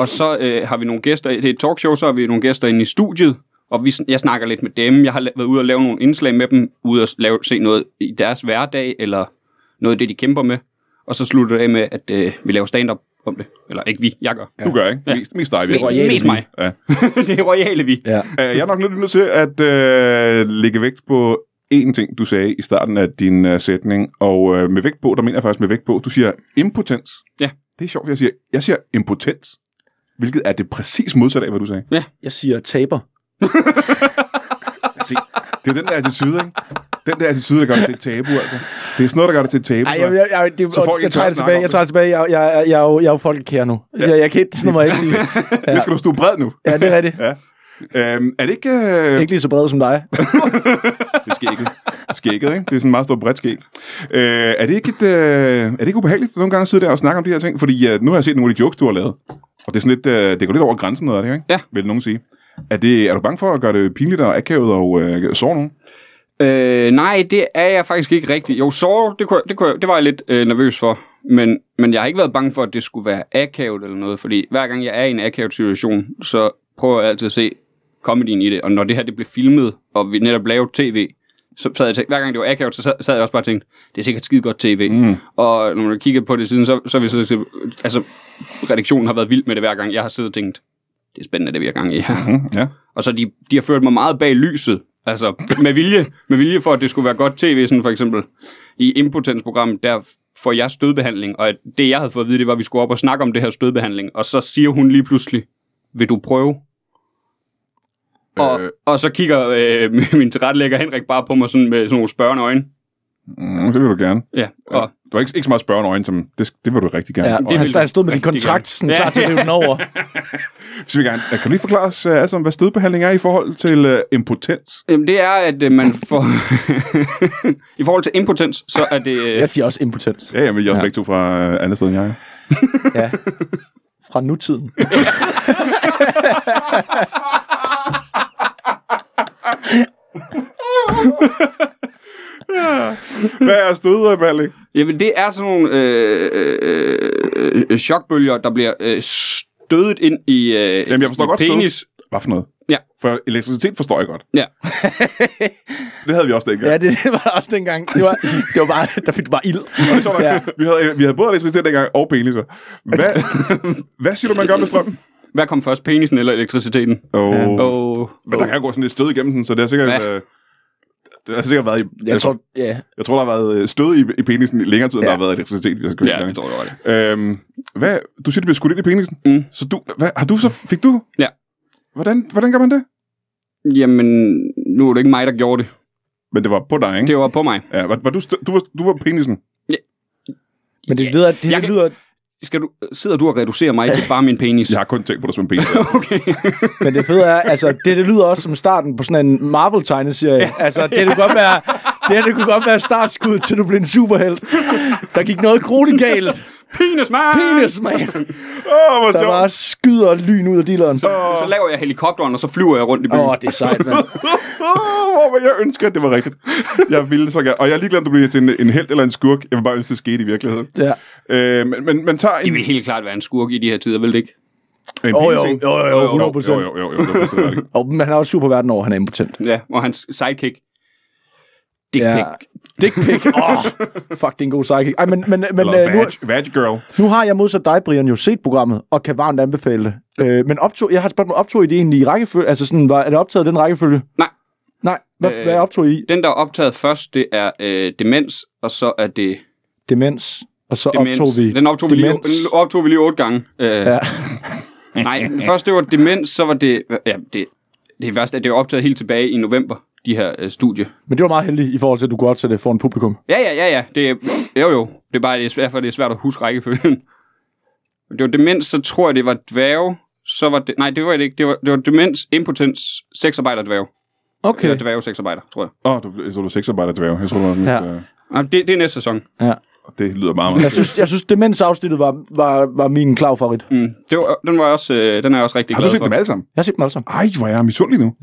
S3: Og så øh, har vi nogle gæster, det er et talkshow, så har vi nogle gæster inde i studiet, og vi, sn- jeg snakker lidt med dem. Jeg har la- været ude og lave nogle indslag med dem, ude og s- lave, se noget i deres hverdag, eller noget af det, de kæmper med. Og så slutter det af med, at øh, vi laver stand-up om det. Eller ikke vi, jeg gør.
S1: Du gør, ikke? Mest, mest dig,
S3: Det
S1: Væver.
S3: er mest mig.
S1: Ja.
S3: det er royale vi.
S2: Ja.
S1: Øh, Jeg er nok lidt nødt til at øh, lægge vægt på én ting, du sagde i starten af din øh, sætning. Og øh, med vægt på, der mener jeg faktisk med vægt på, du siger impotens.
S3: Ja.
S1: Det er sjovt, jeg siger. Jeg siger impotens. Hvilket er det præcis modsatte af, hvad du sagde.
S2: Jeg siger taber.
S1: Se,
S2: Altså,
S1: det er den der attitude, ikke? Den der attitude, der gør det til et tabu, altså. Det er sådan noget, der gør det til et tabu.
S2: Ej,
S1: tror
S2: jeg, jeg, jeg, det,
S1: Så
S2: så
S1: folk
S2: folk
S1: ikke
S2: jeg
S1: tør
S2: træder
S1: at
S2: det
S1: snakke om
S2: tilbage, jeg træder det tilbage, jeg, jeg, jeg, jeg, er jo- jeg er jo folkekær nu. Ja. Jeg, jeg kan ikke, sådan noget, må jeg ikke sige.
S1: jeg. Det skal du stå bred nu.
S2: Ja, det er rigtigt.
S1: Ja. Øhm, er det ikke... Øh,
S2: Ikke lige så bred som dig.
S1: Det er skægget. Skægget, ikke? Det er sådan en meget stor bredt skæg. Øh, er, det ikke et, øh, er det ikke ubehageligt nogle gange at sidde der og snakke om de her ting? Fordi øh, nu har jeg set nogle af de jokes, du har lavet. Og det er sådan lidt... Øh, det går lidt over grænsen noget af det, her, ikke?
S3: Ja.
S1: Vil nogen sige. Er, det, er du bange for at gøre det pinligt og akavet og øh, såre nogen?
S3: Øh, nej, det er jeg faktisk ikke rigtig. Jo, Saw, det, kunne, jeg- det, kunne, jeg- det var jeg lidt øh, nervøs for. Men, men jeg har ikke været bange for, at det skulle være akavet eller noget. Fordi hver gang jeg er i en akavet situation, så prøver jeg altid at se comedyen i det. Og når det her det blev filmet, og vi netop lavede tv, så sad jeg tænkt, hver gang det var akavet, så sad, sad jeg også bare og tænkte, det er sikkert skide godt tv. Mm. Og når man kigger på det siden, så, så har vi så, altså, redaktionen har været vild med det hver gang. Jeg har siddet og tænkt, det er spændende, det vi har gang i her.
S1: Mm, ja.
S3: Og så de, de har ført mig meget bag lyset. Altså, med vilje, med vilje for, at det skulle være godt tv, sådan for eksempel. I impotensprogrammet, der får jeg stødbehandling, og at det, jeg havde fået at vide, det var, at vi skulle op og snakke om det her stødbehandling. Og så siger hun lige pludselig, vil du prøve? Og,
S1: Øh.
S3: og så kigger øh, min tilrettelægger Henrik bare på mig sådan med sådan nogle spørgende øjne.
S1: Mm, det vil du gerne.
S3: Ja, og,
S1: Du har ikke, ikke så meget spørgende øjne, som det, det vil du rigtig gerne.
S2: Ja,
S1: Ja,
S2: det
S3: vil
S2: han,
S3: du
S2: han stod med din
S3: rigtig
S2: kontrakt,
S3: gerne.
S2: sådan
S3: Ja.
S2: klar til at rive den over.
S1: Så vil jeg gerne. Kan du lige forklare os, øh, altså, hvad stødbehandling er i forhold til uh, impotens?
S3: Jamen, det er, at øh, man får... I forhold til impotens, så er det... Øh,
S2: Jeg siger også impotens.
S1: Ja, jamen, jeg er også
S2: Ja.
S1: begge to fra uh, andet sted end jeg.
S2: Ja. Fra nutiden.
S1: Hvad er stødbehandling?
S3: Jamen, det er sådan nogle øh, øh, øh, chokbølger, der bliver øh, stødet ind i, øh,
S1: Jamen, jeg forstår
S3: i
S1: godt
S3: penis. Stød.
S1: Hvad for noget?
S3: Ja.
S1: For elektricitet forstår jeg godt.
S3: Ja.
S1: Det havde vi også dengang.
S2: Ja, det, det var der også dengang. Det var, det var bare, der fik du bare ild.
S1: Og det er sjovt nok,
S2: Ja.
S1: vi, havde, vi havde både elektricitet dengang og peniser. Hvad, hvad siger du, man gør med strømmen?
S3: Hvad kom først, penisen eller elektriciteten?
S1: Oh.
S3: Og,
S1: Men der kan jo gå sådan lidt stød igennem den, så det har sikkert,
S3: Ja.
S1: ja. øh, det har sikkert været i, jeg,
S2: Jeg
S1: jeg, tror,
S2: tror, ja.
S1: jeg tror, der har været øh, stød i, i penisen i længere tid, end
S2: Ja.
S1: der har været elektricitet. hvis Jeg skal
S3: ja,
S1: være
S3: det tror jeg, det var det.
S1: ærlig. øhm, hvad, du siger, det bliver skudt ind i penisen?
S3: Mm.
S1: Så du, hvad, har du så, fik du?
S3: Ja.
S1: Hvordan, hvordan gør man det?
S3: Jamen, nu er det ikke mig, der gjorde det.
S1: Men det var på dig, ikke?
S3: Det var på mig.
S1: Ja, var, var du, stød, du, var, du var penisen.
S2: Men det lyder, det,
S3: Jeg
S2: det
S3: kan-
S2: lyder
S3: Skal du, sidder du og reducerer mig til bare min penis?
S1: Jeg har kun tænkt på dig som en penis.
S3: Okay.
S2: men det fede er, altså, det, det lyder også som starten på sådan en Marvel-tegneserie. Ja. Altså, det, det, kunne godt være, det, her, det kunne godt være startskud til, du blev en superhelt. Der gik noget grueligt galt.
S3: Penis, man!
S2: Penis, man.
S1: Åh, oh, hvor
S2: Der
S1: sjovt.
S2: bare skyder lyn ud af dealeren. Åh,
S3: Så laver jeg helikopteren, og så flyver jeg rundt i byen.
S2: oh, det er sejt, mand.
S1: Åh, hvor jeg ønsker, at det var rigtigt. Jeg ville så gerne. Og jeg er ligeglad, om du bliver til en, en held eller en skurk. Jeg vil bare ønske, at det skete i virkeligheden.
S2: Ja.
S1: Øh, men, men man tager en,
S3: Det vil helt klart være en skurk i de her tider, vil det ikke?
S1: en
S2: Jo, jo,
S1: penis, ikke?
S2: jo, jo, 100
S1: Jo, jo, jo, jo, 100%, er det ikke?
S2: Og men han er også super verden over, han er impotent.
S3: Ja, og hans sidekick. Dick
S2: Ja.
S3: ja. pic.
S2: Dick pic. Oh, fuck, det er en god sidekick. Ej, men, men, men
S1: Eller
S2: øh, nu,
S1: vag, vag girl.
S2: nu, har jeg modsat dig, Brian, jo set programmet, og kan varmt anbefale det. Øh, men optog, jeg har et spørgsmål, optog I det egentlig i rækkefølge? Altså sådan, var, er det optaget i den rækkefølge?
S3: Nej.
S2: Nej, hvad, øh,
S3: Øh,
S2: hvad optog I?
S3: Den, der er optaget først, det er øh, demens, og så er det
S2: Demens. Og så
S3: demens.
S2: optog vi...
S3: den, optog vi lige,
S2: demens.
S3: den optog vi lige otte gange. Øh, ja.
S2: Ja.
S3: Nej, den første det var demens, så var det... Ja, det, det er værst, at det er optaget helt tilbage i november, de her øh, studier.
S2: Men det var meget heldigt i forhold til, at du kunne optage det for en publikum.
S3: Ja, ja, ja, ja. Det, er- jo, jo. Det er bare det er svært, for det er svært at huske rækkefølgen. Det var demens, så tror jeg, det var dværge. Så var det, nej, det var det ikke. Det var, det var demens, impotens, sexarbejder, dværge. Okay. Eller
S2: Okay.
S3: dværge, sexarbejder, tror jeg.
S1: Åh, oh, du, jeg så du er sexarbejder dværg. Jeg tror, det var sådan,
S2: Ja.
S1: ja. øh,
S3: Nej, det, det er næste sæson.
S2: Ja.
S1: det lyder meget,
S2: Jeg
S1: meget.
S2: synes, jeg synes demensafsnittet var, var, var min klar favorit.
S3: Mm. Det var, den, var jeg også, øh, den er jeg også rigtig
S1: Har
S3: glad
S1: du set
S3: for.
S1: dem alle sammen?
S2: Jeg har set dem alle sammen.
S1: Ej, hvor er jeg misundelig nu.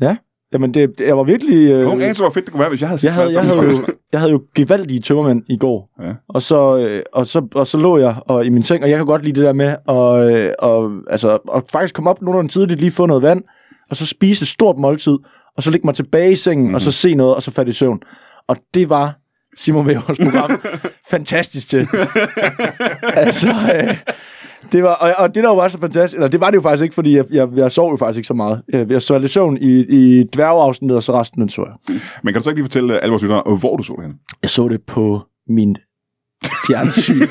S2: Jamen, det, det, jeg var virkelig... Øh,
S1: Hun anede, hvor fedt det kunne være, hvis jeg havde set
S2: Jeg havde,
S1: dem
S2: jeg,
S1: alle
S2: havde
S1: sammen.
S2: jo, jeg havde jo gevaldige tømmermænd i går,
S1: Ja.
S2: og, så, øh, og, så, og så lå jeg og, i min seng, og jeg kan godt lide det der med at øh, og, altså, og faktisk komme op nogenlunde tidligt, lige få noget vand, og så spise et stort måltid, og så ligge mig tilbage i sengen,
S1: Mhm.
S2: mm-hmm. og så se noget, og så falde i søvn. Og det var Simon Vævers program fantastisk til. altså, øh, det var, og, og det der jo var så fantastisk, eller det var det jo faktisk ikke, fordi jeg, jeg, jeg sov jo faktisk ikke så meget. Jeg, jeg så lidt søvn i, i dværgeafsnittet, og så resten den så jeg.
S1: Men kan du så ikke lige fortælle øh, alle vores lyttere, hvor du så det henne?
S2: Jeg så det på min fjernsyn.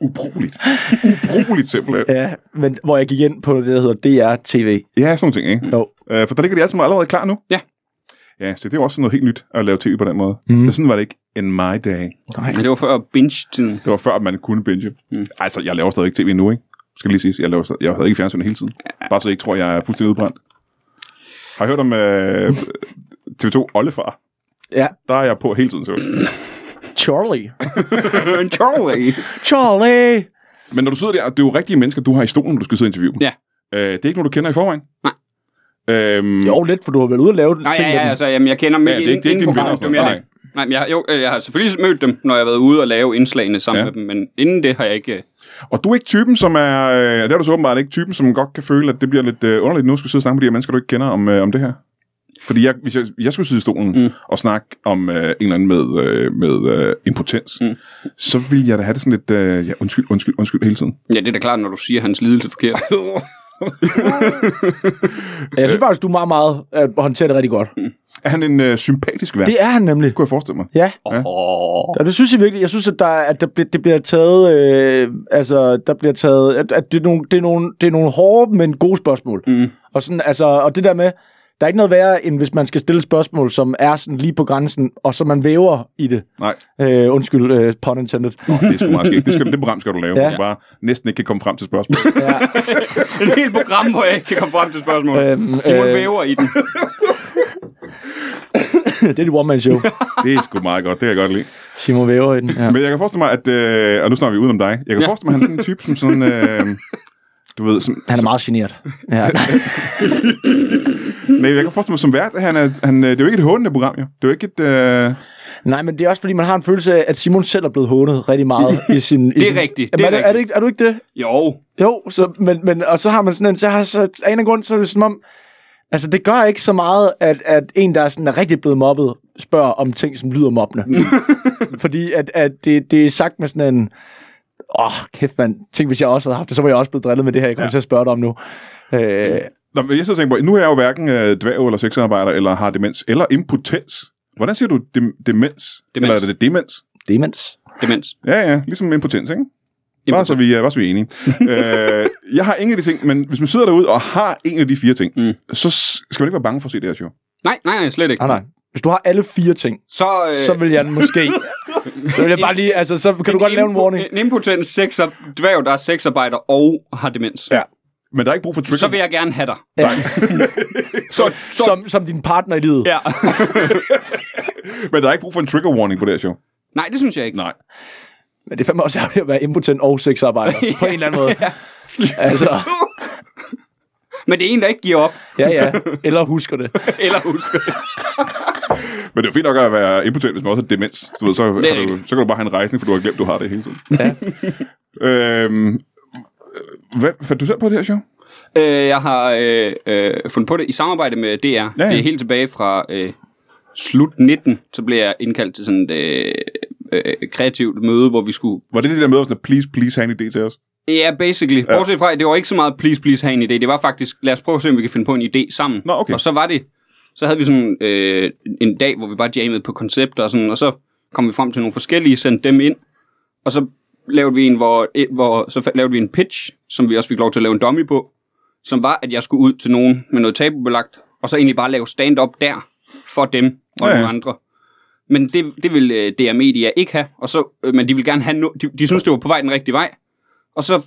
S1: Ubrugeligt. Ubrugeligt simpelthen.
S2: ja, men hvor jeg gik ind på det, der hedder DR TV.
S1: Ja, sådan nogle ting, ikke?
S2: Jo.
S1: Øh, for der ligger de alle sammen allerede klar nu.
S3: Ja.
S1: Ja, så det er jo også sådan noget helt nyt at lave tv på den måde.
S2: Mm.
S1: Men sådan var det ikke in my day.
S2: Nej.
S3: Ja, det var før binge-tiden.
S1: Det var før, at man kunne binge.
S3: Mm.
S1: Mm. Altså, jeg laver stadigvæk tv nu, ikke? Skal lige sige, jeg, laver stadig, jeg havde ikke fjernsynet hele tiden. Bare så jeg ikke tror, jeg er fuldstændig udbrændt. Har I hørt om øh, TV2 Ollefar?
S2: Ja.
S1: Der er jeg på hele tiden, så.
S2: Charlie.
S3: Charlie.
S2: Charlie!
S1: Men når du sidder der, det er jo rigtige mennesker, du har i stolen, når du skal sidde og interviewe dem.
S3: Ja.
S1: Øh, det er ikke nogen, du kender i forvejen.
S3: Nej.
S1: Øhm,
S2: Jo, lidt, for du har været ude og lave
S3: Nej, ja,
S2: ting med
S3: ja,
S2: den.
S3: altså, jamen, jeg kender dem
S1: Ja,
S3: ikke
S1: det er ikke- det er ikke
S3: inden
S1: dine venner
S3: programmet,
S1: og sådan
S3: det er mere
S1: noget.
S3: det. Nej, men jeg, jo, øh, jeg har selvfølgelig mødt dem, når jeg har været ude og lave indslagene sammen
S1: Ja.
S3: ja. med dem, men inden det har jeg ikke... øh,
S1: og du er ikke typen, som er... Øh, det er du så åbenbart ikke typen, som godt kan føle, at det bliver lidt øh, underligt nu, at skulle sidde og snakke med de her mennesker, du ikke kender om, øh, om det her. Fordi jeg, hvis jeg, jeg skulle sidde i stolen mm. og snakke om øh, en eller anden med, øh, med øh, impotens, mm. så ville jeg da have det sådan lidt... Øh, ja, undskyld, undskyld, undskyld hele tiden.
S3: Ja, det er da klart, når du siger hans lidelse forkert.
S2: Jeg synes faktisk, du er meget, meget øh, håndterer det rigtig godt.
S1: er han en øh, sympatisk værk? Det
S2: Det er han nemlig.
S1: kunne jeg forestille mig.
S2: Ja.
S1: Ja.
S3: Åh,
S2: Og det synes jeg virkelig. Jeg synes, at, der, at der bliver, det bliver taget... Øh, altså, der bliver taget... At, at det, er nogle, det, er nogle, det er nogle hårde, men gode spørgsmål.
S3: Mm.
S2: Og, sådan, altså, og det der med... Der er ikke noget værre, end hvis man skal stille et spørgsmål, som er sådan lige på grænsen, og så man væver i det.
S1: Nej,
S2: Øh, undskyld, øh, pun intended.
S1: Nå, det er sgu meget skægt. Det, skal, det program skal du lave, ja.
S2: Ja.
S1: hvor du bare næsten ikke kan komme frem til spørgsmålet.
S2: Ja.
S3: et helt program, hvor jeg ikke kan komme frem til spørgsmålet.
S2: Øhm,
S3: Simon
S2: øh,
S3: væver i den.
S2: det er det one-man-show.
S1: Det er sgu meget godt, det kan jeg godt lide.
S2: Simon væver i den. Ja.
S1: Men jeg kan forestille mig, at... Øh, og nu snakker vi udenom dig. Jeg kan ja.
S3: Ja.
S1: forestille mig, at han er sådan en type, som sådan... Øh, du ved, som,
S2: Han er meget generet. Ja.
S1: nej, jeg kan forestille mig som vært, at han er, han, øh, det er jo ikke et håndende program, jo. Det er jo ikke et... Øh,
S2: Nej, men det er også fordi, man har en følelse af, at Simon selv er blevet hånet rigtig meget i sin... i
S3: Det er
S2: sin...
S3: rigtigt,
S2: Jamen,
S3: det er
S2: er, det, er, det ikke, er du ikke det?
S3: Jo,
S2: Jo, så, men, men, og så har man sådan en... Så har, så, af en eller anden grund, så er det som om... Altså, det gør ikke så meget, at, at en, der er sådan er rigtig blevet mobbet, spørger om ting, som lyder mobbende. fordi at, at det, det er sagt med sådan en... Åh, oh, kæft mand. Tænk, hvis jeg også havde haft det, så var jeg også blevet drillet med det her, jeg kommer ja. til at spørge dig om nu. Øh,
S1: Nå, men jeg sidder og tænker på, nu er jeg jo hverken øh, dværg eller sexarbejder, eller har demens, eller impotens. Hvordan siger du dem, demens? demens? Eller er det demens?
S2: demens.
S3: demens.
S1: Ja, ja, ligesom impotens, ikke? Bare så vi, er- bare så vi er enige. øh, jeg har ingen af de ting, men hvis man sidder derude og har en af de fire ting, mm.
S3: Mm.
S1: så s- skal man ikke være bange for at se det her show.
S3: Nej, nej, nej, slet ikke.
S2: Ah, Nej, nej. Hvis du har alle fire ting,
S3: Så, øh,
S2: så vil jeg måske... så vil jeg bare lige... Altså, så kan du godt lave en
S3: impo-
S2: warning.
S3: En impotent sexer, dværg, der er sexarbejder og har demens.
S1: Ja. Men der er ikke brug for trigger.
S3: Så vil jeg gerne have dig.
S2: Ja.
S1: så, så,
S2: som, som din partner i livet.
S3: Ja.
S1: men der er ikke brug for en trigger warning på det her show.
S3: nej, det synes jeg ikke.
S1: Nej.
S2: Men det er fandme også ærgerligt at være impotent og sexarbejder, på en eller anden måde. altså,
S3: Men det er en, der ikke giver op,
S2: ja ja, eller husker det.
S3: eller husker.
S1: Men det er jo fint nok at være impotent, hvis man også har demens. Du ved, så,
S3: Det
S1: har
S3: er
S1: du,
S3: rigtigt.
S1: så kan du bare have en rejsning, for du har glemt, du har det hele tiden.
S2: Ja.
S1: øhm, øh, hvad fandt du selv på det her show?
S3: Øh, jeg har øh, øh, fundet på det i samarbejde med DR. Ja,
S1: ja.
S3: ja. Det er helt tilbage fra øh, slut 19, så blev jeg indkaldt til sådan et øh, øh, kreativt møde, hvor vi skulle...
S1: Var det det der med, sådan, at please, please, have en idé til os?
S3: Ja, basically. Ja. Bortset fra, at det var ikke så meget please, please have en idé. Det var faktisk, lad os prøve at se, om vi kan finde på en idé sammen.
S1: Nå, okay.
S3: Og så var det... Så havde vi sådan øh, en dag, hvor vi bare jammede på koncepter og sådan, og så kom vi frem til nogle forskellige, sendte dem ind, og så lavede vi en, hvor, et, hvor så fa- lavede vi en pitch, som vi også fik lov til at lave en dummy på, som var, at jeg skulle ud til nogen med noget tabubelagt, og så egentlig bare lave stand-up der for dem
S1: Ja,
S3: og ja,
S1: ja.
S3: nogle andre. Men det, det ville øh, DR Media ikke have, og så, øh, men de ville gerne have no, de, de synes det var på vej den rigtige vej. Og så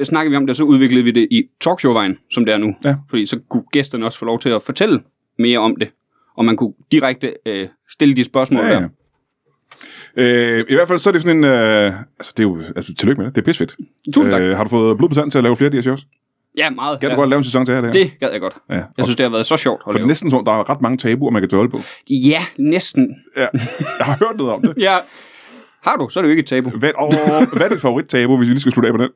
S3: øh, snakkede vi om det, og så udviklede vi det i talkshow-vejen, som det er nu.
S1: Ja.
S3: Fordi så kunne gæsterne også få lov til at fortælle mere om det, og man kunne direkte øh, stille de spørgsmål ja, ja. der.
S1: Øh, I hvert fald så er det sådan en... Øh, altså, det er jo... Altså, tillykke med det. Det er pissfedt.
S3: Tusind tak.
S1: Øh, har du fået blod på tanden til at lave flere af de her shows?
S3: Ja, meget.
S1: Kan
S3: ja.
S1: du godt lave en sæson til her, det her?
S3: Det gad jeg godt.
S1: Ja.
S3: Jeg synes, det har været så sjovt at
S1: For det er
S3: lave.
S1: næsten som, om, der er ret mange tabuer, man kan tøjle på.
S3: Ja, næsten.
S1: Ja. Jeg har hørt noget om det.
S3: Ja. Har du, så er det jo ikke et tabu.
S1: Hvad, og, hvad er dit favorittabu, hvis vi lige skal slutte af på den?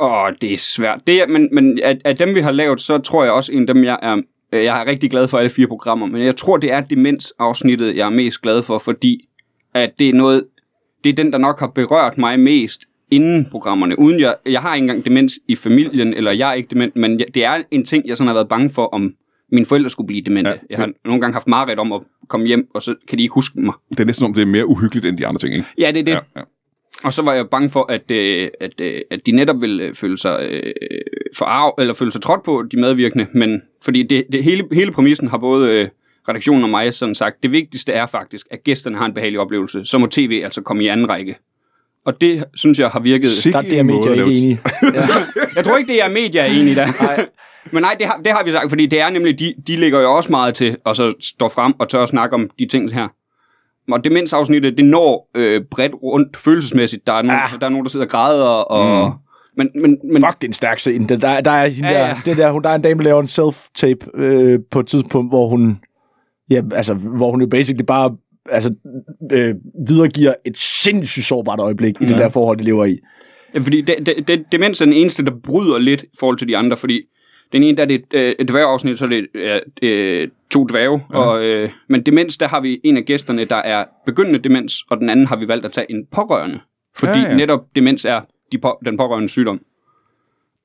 S3: Åh, det er svært. Det er, men men af, af dem, vi har lavet, så tror jeg også, en af dem, jeg er, øh, jeg er rigtig glad for alle fire programmer, men jeg tror, det er demensafsnittet, jeg er mest glad for, fordi at det er noget, det er den, der nok har berørt mig mest inden programmerne. Uden jeg, jeg har ikke engang demens i familien, eller jeg er ikke dement, men jeg, det er en ting, jeg sådan har været bange for, om mine forældre skulle blive demente.
S1: Ja,
S3: Ja, jeg har nogle gange haft mareridt om at komme hjem, og så kan de ikke huske mig.
S1: Det er næsten som, om, det er mere uhyggeligt end de andre ting, ikke?
S3: Ja, det er det.
S1: Ja, ja.
S3: Og så var jeg bange for, at, øh, at, øh, at de netop ville øh, føle sig øh, forarv, eller føle sig trådt på, de medvirkende. Men fordi det, det hele, hele præmissen har både øh, redaktionen og mig sådan sagt, det vigtigste er faktisk, at gæsterne har en behagelig oplevelse. Så må tv altså komme i anden række. Og det, synes jeg, har virket...
S2: Der er det, jeg medier ikke enig i. Ja.
S3: Jeg tror ikke, det er media egentlig, der.
S2: Nej.
S3: Men nej, det har, det har vi sagt, fordi det er nemlig, de, de ligger jo også meget til, og så står frem og tør at snakke om de ting her. Og demensafsnittet, det når øh, bredt rundt følelsesmæssigt. Der er, nogen, ah. der er nogen, der sidder og græder, og mm. Men, men, men
S2: Fuck, det er en stærk scene. Den, der, der, er hende
S3: Ja,
S2: ja,
S3: ja.
S2: ja. Der, det der, hun, der er en dame, der laver en self-tape øh, på et tidspunkt, hvor hun, ja, altså, hvor hun jo basically bare altså, øh, videregiver et sindssygt sårbart øjeblik i det der forhold, de lever i.
S3: Ja, Fordi det, det, det, demens er den eneste, der bryder lidt i forhold til de andre, fordi den ene, der er det et, øh, et dværgeafsnit, så er det øh, øh, to dværge, ja. og, øh, men demens, der har vi en af gæsterne, der er begyndende demens, og den anden har vi valgt at tage en pårørende, fordi
S1: Ja,
S3: ja,
S1: ja.
S3: ja. netop demens er de på, den pårørende sygdom.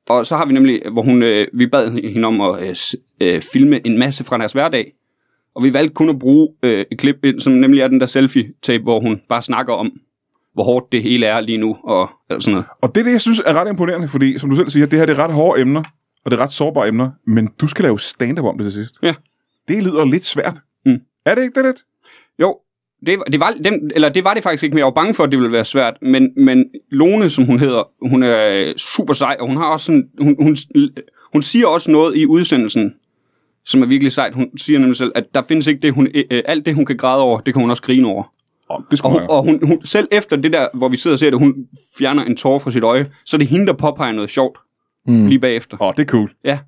S3: Og så har vi nemlig, hvor hun, øh, vi bad hende om at øh, s- øh, filme en masse fra deres hverdag, og vi valgte kun at bruge øh, et klip, ind, som nemlig er den der selfie-tape, hvor hun bare snakker om, hvor hårdt det hele er lige nu, og alt sådan noget.
S1: Og det er det, jeg synes er ret imponerende, fordi som du selv siger, det her det er ret hårde emner, og det er ret sårbare emner, men du skal lave stand-up om det til sidst.
S3: Ja.
S1: Det lyder lidt svært.
S3: Mm.
S1: Er det ikke det lidt?
S3: Jo, det, var- det, var, den, eller det var det faktisk ikke, men jeg var bange for, at det ville være svært. Men, men Lone, som hun hedder, hun er øh, super sej, og hun har også sådan, hun, hun, hun siger også noget i udsendelsen, som er virkelig sejt. Hun siger nemlig selv, at der findes ikke det, hun, øh, alt det, hun kan græde over, det kan hun også grine over.
S1: Oh, det skulle
S3: Og,
S1: og,
S3: hun, og hun, hun, selv efter det der, hvor vi sidder og ser det, hun fjerner en tårer fra sit øje, så er det hende, der påpeger noget sjovt
S2: Mm.
S3: lige bagefter.
S1: oh, det er cool.
S3: Ja,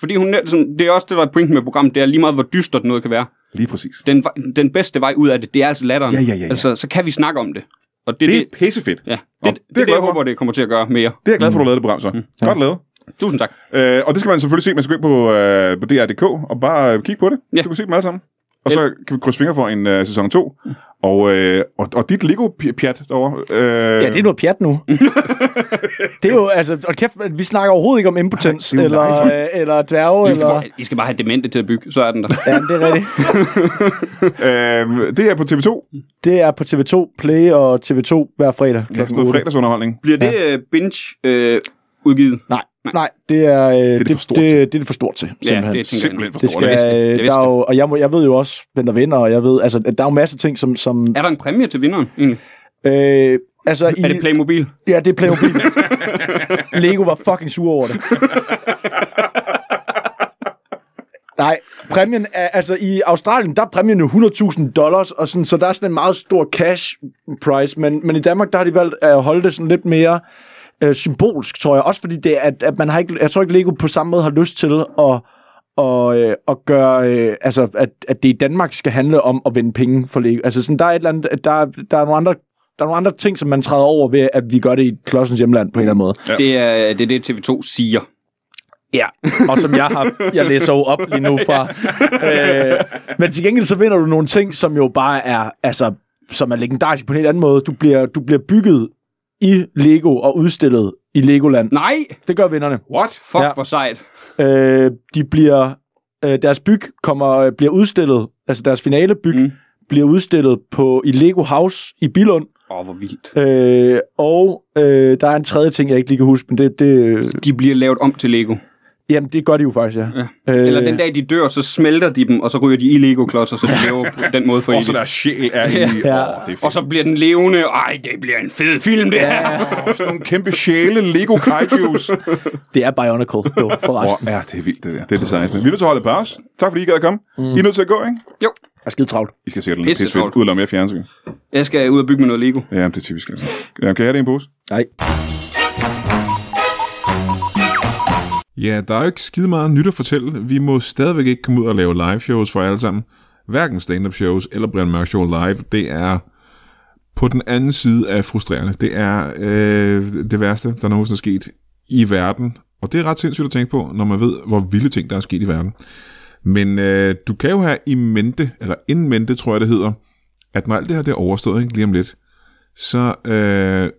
S3: fordi hun, net- sådan, det er også det, der er pointen med programmet, det er lige meget, hvor dystert noget kan være
S1: Lige præcis. Det,
S3: den, vej- den bedste vej ud af det, det er altså latteren.
S1: Ja, ja, ja, ja.
S3: Altså, så kan vi snakke om det. Og det,
S1: det
S3: det,
S1: er
S3: det
S1: pissefedt.
S3: ja, det,
S1: Nå, det er
S3: Nå, det,
S1: jeg
S3: det, det,
S1: glad
S3: det jeg
S1: for.
S3: håber, det kommer til at gøre mere.
S1: Det er jeg glad for, du lavede det program så. Mm. Godt lavet.
S3: Tusind tak.
S1: Øh, og det skal man selvfølgelig se. Man skal gå ind på, øh, på DR.dk og bare øh, kigge på det.
S3: Ja.
S1: Du kan se dem alle sammen. Og så kan vi krydse fingre for en øh, sæson 2. Og, øh, og, og dit Lego-pjat derovre. Øh,
S2: Ja, det er noget pjat nu. det er jo, altså, og kæft, men vi snakker overhovedet ikke om impotens,
S1: Nej, det er jo
S2: eller, øh, eller dværge,
S3: I,
S2: eller...
S3: får, I skal bare have demente til at bygge, så er den der.
S2: Ja, men det er rigtigt.
S1: øh, det er på TV2.
S2: Det er på TV2 Play og TV2 hver fredag.
S1: Ja,
S2: klokken
S1: sådan noget
S2: otte.
S1: fredagsunderholdning.
S3: Bliver det øh, ja. binge-udgivet?
S2: Nej, nej, det er øh, det,
S1: det for
S2: det,
S1: stort
S2: det, det er det for stort til,
S3: ja,
S2: simpelthen.
S3: det tænker jeg.
S1: Simpelthen
S2: det
S1: forstår
S2: skal,
S1: det.
S3: jeg. Jeg
S2: jeg
S3: vidste
S2: der er
S3: det.
S2: jo, og jeg, må, jeg ved jo også, hvem der vinder, og jeg ved, altså, at der er jo masser af ting, som... som
S3: Er der en præmie til vinderen egentlig?
S2: øh, altså,
S3: I... Er det Playmobil?
S2: Ja, det er Playmobil. Lego var fucking sur over det. Nej, præmien er, altså i Australien, der er præmien jo 100.000 dollars, og sådan, så der er sådan en meget stor cash price, men, men i Danmark, der har de valgt at holde det sådan lidt mere øh, symbolsk, tror jeg. Også fordi det, er, at, at man har ikke, jeg tror ikke, Lego på samme måde har lyst til at, og, øh, at gøre, øh, altså, at, at det i Danmark skal handle om at vinde penge for Lego. Altså, sådan, der er et eller andet, der, er- der er nogle andre der er nogle andre ting, som man træder over ved, at vi gør det i klodsens hjemland på en eller anden måde.
S1: Ja.
S3: Ja. Det, er, øh, det er det, TV2 siger.
S2: Ja. Og som jeg har, jeg læser jo op lige nu fra. øh, men til gengæld så vinder du nogle ting, som jo bare er, altså, som er legendarisk på en helt anden måde. Du bliver, du bliver bygget i Lego og udstillet i Legoland.
S3: Nej!
S2: Det gør vinderne.
S1: What?
S3: Fuck,
S2: Ja.
S3: ja. hvor sejt.
S2: Øh, de bliver, øh, deres byg kommer, bliver udstillet, altså deres finale byg,
S3: Mm.
S2: mm. bliver udstillet på, i Lego House i Bilund.
S3: Åh, oh, hvor vildt.
S2: Øh, og øh, der er en tredje ting, jeg ikke lige kan huske, men det, det,
S3: De bliver lavet om til Lego.
S2: Jamen, det gør de jo faktisk, ja.
S3: Ja.
S2: Øh,
S3: Eller den dag, de dør, så smelter de dem, og så ryger de i Lego-klodser, så de lever på den måde for
S1: Og så
S3: evigt.
S1: der sjæl er i. Ja. Oh, det er fedt.
S3: Og så bliver den levende. Ej, det bliver en fed film, det her.
S1: Og sådan nogle kæmpe sjæle Lego kaijus.
S2: Det er Bionicle, jo, forresten.
S1: Hvor er det vildt, det der. Det er det sejeste. Vi er nødt til at holde pause. Tak fordi I gad at komme. Mm. I er nødt til at gå, ikke?
S3: Jo,
S2: Jeg er skide travlt.
S1: I skal sikkert lidt
S3: Pisse
S1: pisse fedt.
S3: travlt.
S1: Ud og lave mere fjernsyn.
S3: jeg skal ud og bygge med noget Lego.
S1: Ja, men det er typisk. Altså. Ja, kan jeg have det i en pose?
S2: Nej.
S4: Ja, der er jo ikke skide meget nyt at fortælle. Vi må stadigvæk ikke komme ud og lave live shows for jer alle sammen. Hverken stand-up shows eller Brian Mørk Show live. Det er på den anden side af frustrerende. Det er øh, det værste, der nogensinde er sket i verden. Og det er ret sindssygt at tænke på, når man ved, hvor vilde ting, der er sket i verden. Men øh, du kan jo have i mente, eller in mente, tror jeg det hedder, at når alt det her det er overstået ikke, lige om lidt, så øh,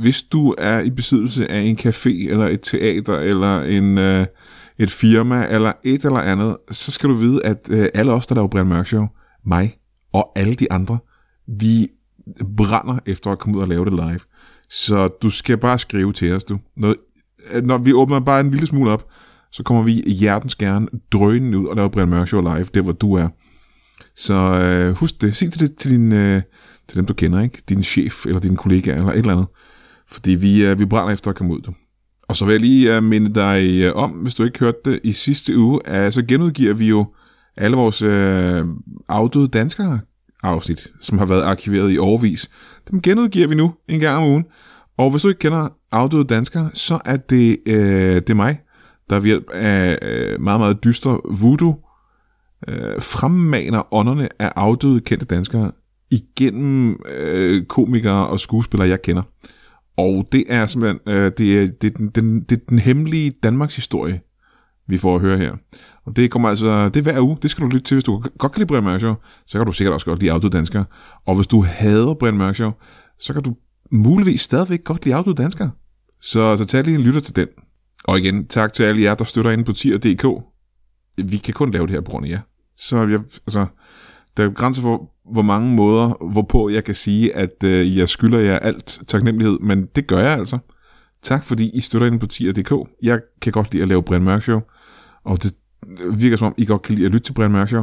S4: hvis du er i besiddelse af en café, eller et teater, eller en, øh, et firma, eller et eller andet, så skal du vide, at øh, alle os, der laver Brian Mørk Show, mig og alle de andre, vi brænder efter at komme ud og lave det live. Så du skal bare skrive til os, du. Når, øh, når vi åbner bare en lille smule op, så kommer vi hjertens gerne drønende ud og laver Brian Mørk Show live, der hvor du er. Så øh, husk det. Sig til det til, din, øh, til dem, du kender, ikke? Din chef, eller din kollega, eller et eller andet. Fordi vi, øh, vi brænder efter at komme ud. du. Og så vil jeg lige øh, minde dig øh, om, hvis du ikke hørte det i sidste uge, at så genudgiver vi jo alle vores øh, afdøde danskere afsnit, som har været arkiveret i overvis. Dem genudgiver vi nu en gang om ugen. Og hvis du ikke kender afdøde danskere, så er det, øh, det er mig, der ved hjælp af øh, meget, meget dyster voodoo, øh, fremmaner ånderne af afdøde kendte danskere igennem øh, komikere og skuespillere, jeg kender. Og det er simpelthen øh, det er, det er den, den, det er den hemmelige Danmarks historie, vi får at høre her. Og det kommer altså, det er hver uge, det skal du lytte til, hvis du godt kan lide Brian Mørk Show, så kan du sikkert også godt lide Afdøde Danskere. Og hvis du hader Brian Mørk Show, så kan du muligvis stadigvæk godt lide Afdøde Danskere. Så, så tag lige en lytter til den. Og igen, tak til alle jer, der støtter ind på tier.dk. Vi kan kun lave det her på grund af jer. Så jeg, altså, der er jo grænser for, hvor mange måder, hvorpå jeg kan sige, at øh, jeg skylder jer alt taknemmelighed, men det gør jeg altså. Tak fordi I støtter ind på tier.dk. Jeg kan godt lide at lave Brian Mørk Show, og det virker som om, I godt kan lide at lytte til Brian Mørk Show.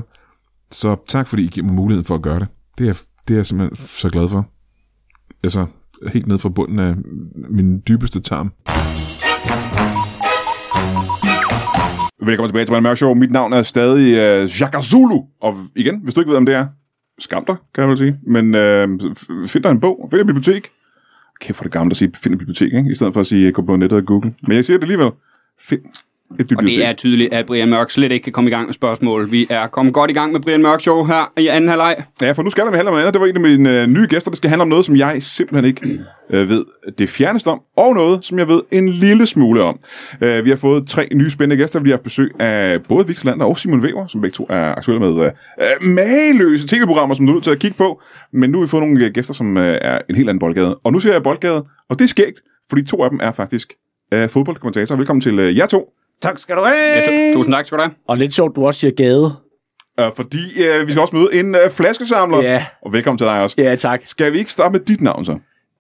S4: Så tak fordi I giver mig muligheden for at gøre det. Det er, det er jeg simpelthen så glad for. Altså, helt ned fra bunden af min dybeste tarm.
S1: Velkommen tilbage til Brian Mørk Show. Mit navn er stadig uh, Jacques Zulu. Og igen, hvis du ikke ved, om det er, skam dig, kan jeg vel sige. Men øh, f- find dig en bog, find et bibliotek. Kæft for det gamle at sige, find et bibliotek, ikke? I stedet for at sige, øh, gå på nettet og google. Men jeg siger det alligevel. Find et bibliotek.
S3: Og det er tydeligt, at Brian Mørk slet ikke kan komme i gang med spørgsmål. Vi er kommet godt i gang med Brian Mørk Show her i anden halvleg.
S1: Ja, for nu skal det handle om noget andet. Det var en af mine øh, nye gæster, der skal handle om noget, som jeg simpelthen ikke øh, ved det fjerneste om, og noget, som jeg ved en lille smule om. Øh, vi har fået tre nye spændende gæster. Vi har haft besøg af både Victor Lander og Simon Weber, som begge to er aktuelle med øh, øh, mageløse tv-programmer, som du er nødt til at kigge på. Men nu har vi fået nogle øh, gæster, som øh, er en helt anden boldgade. Og nu ser jeg boldgade, og det er skægt, fordi to af dem er faktisk øh, fodboldkommentatorer. Velkommen til øh, jer to. Tak skal du have!
S3: Ja, tu- tusind tak skal du have.
S2: Og lidt sjovt, du også siger gade.
S1: Øh, fordi øh, vi skal også møde en øh, flaskesamler.
S2: Ja.
S1: Og velkommen til dig også.
S2: Ja, tak.
S1: Skal vi ikke starte med dit navn så?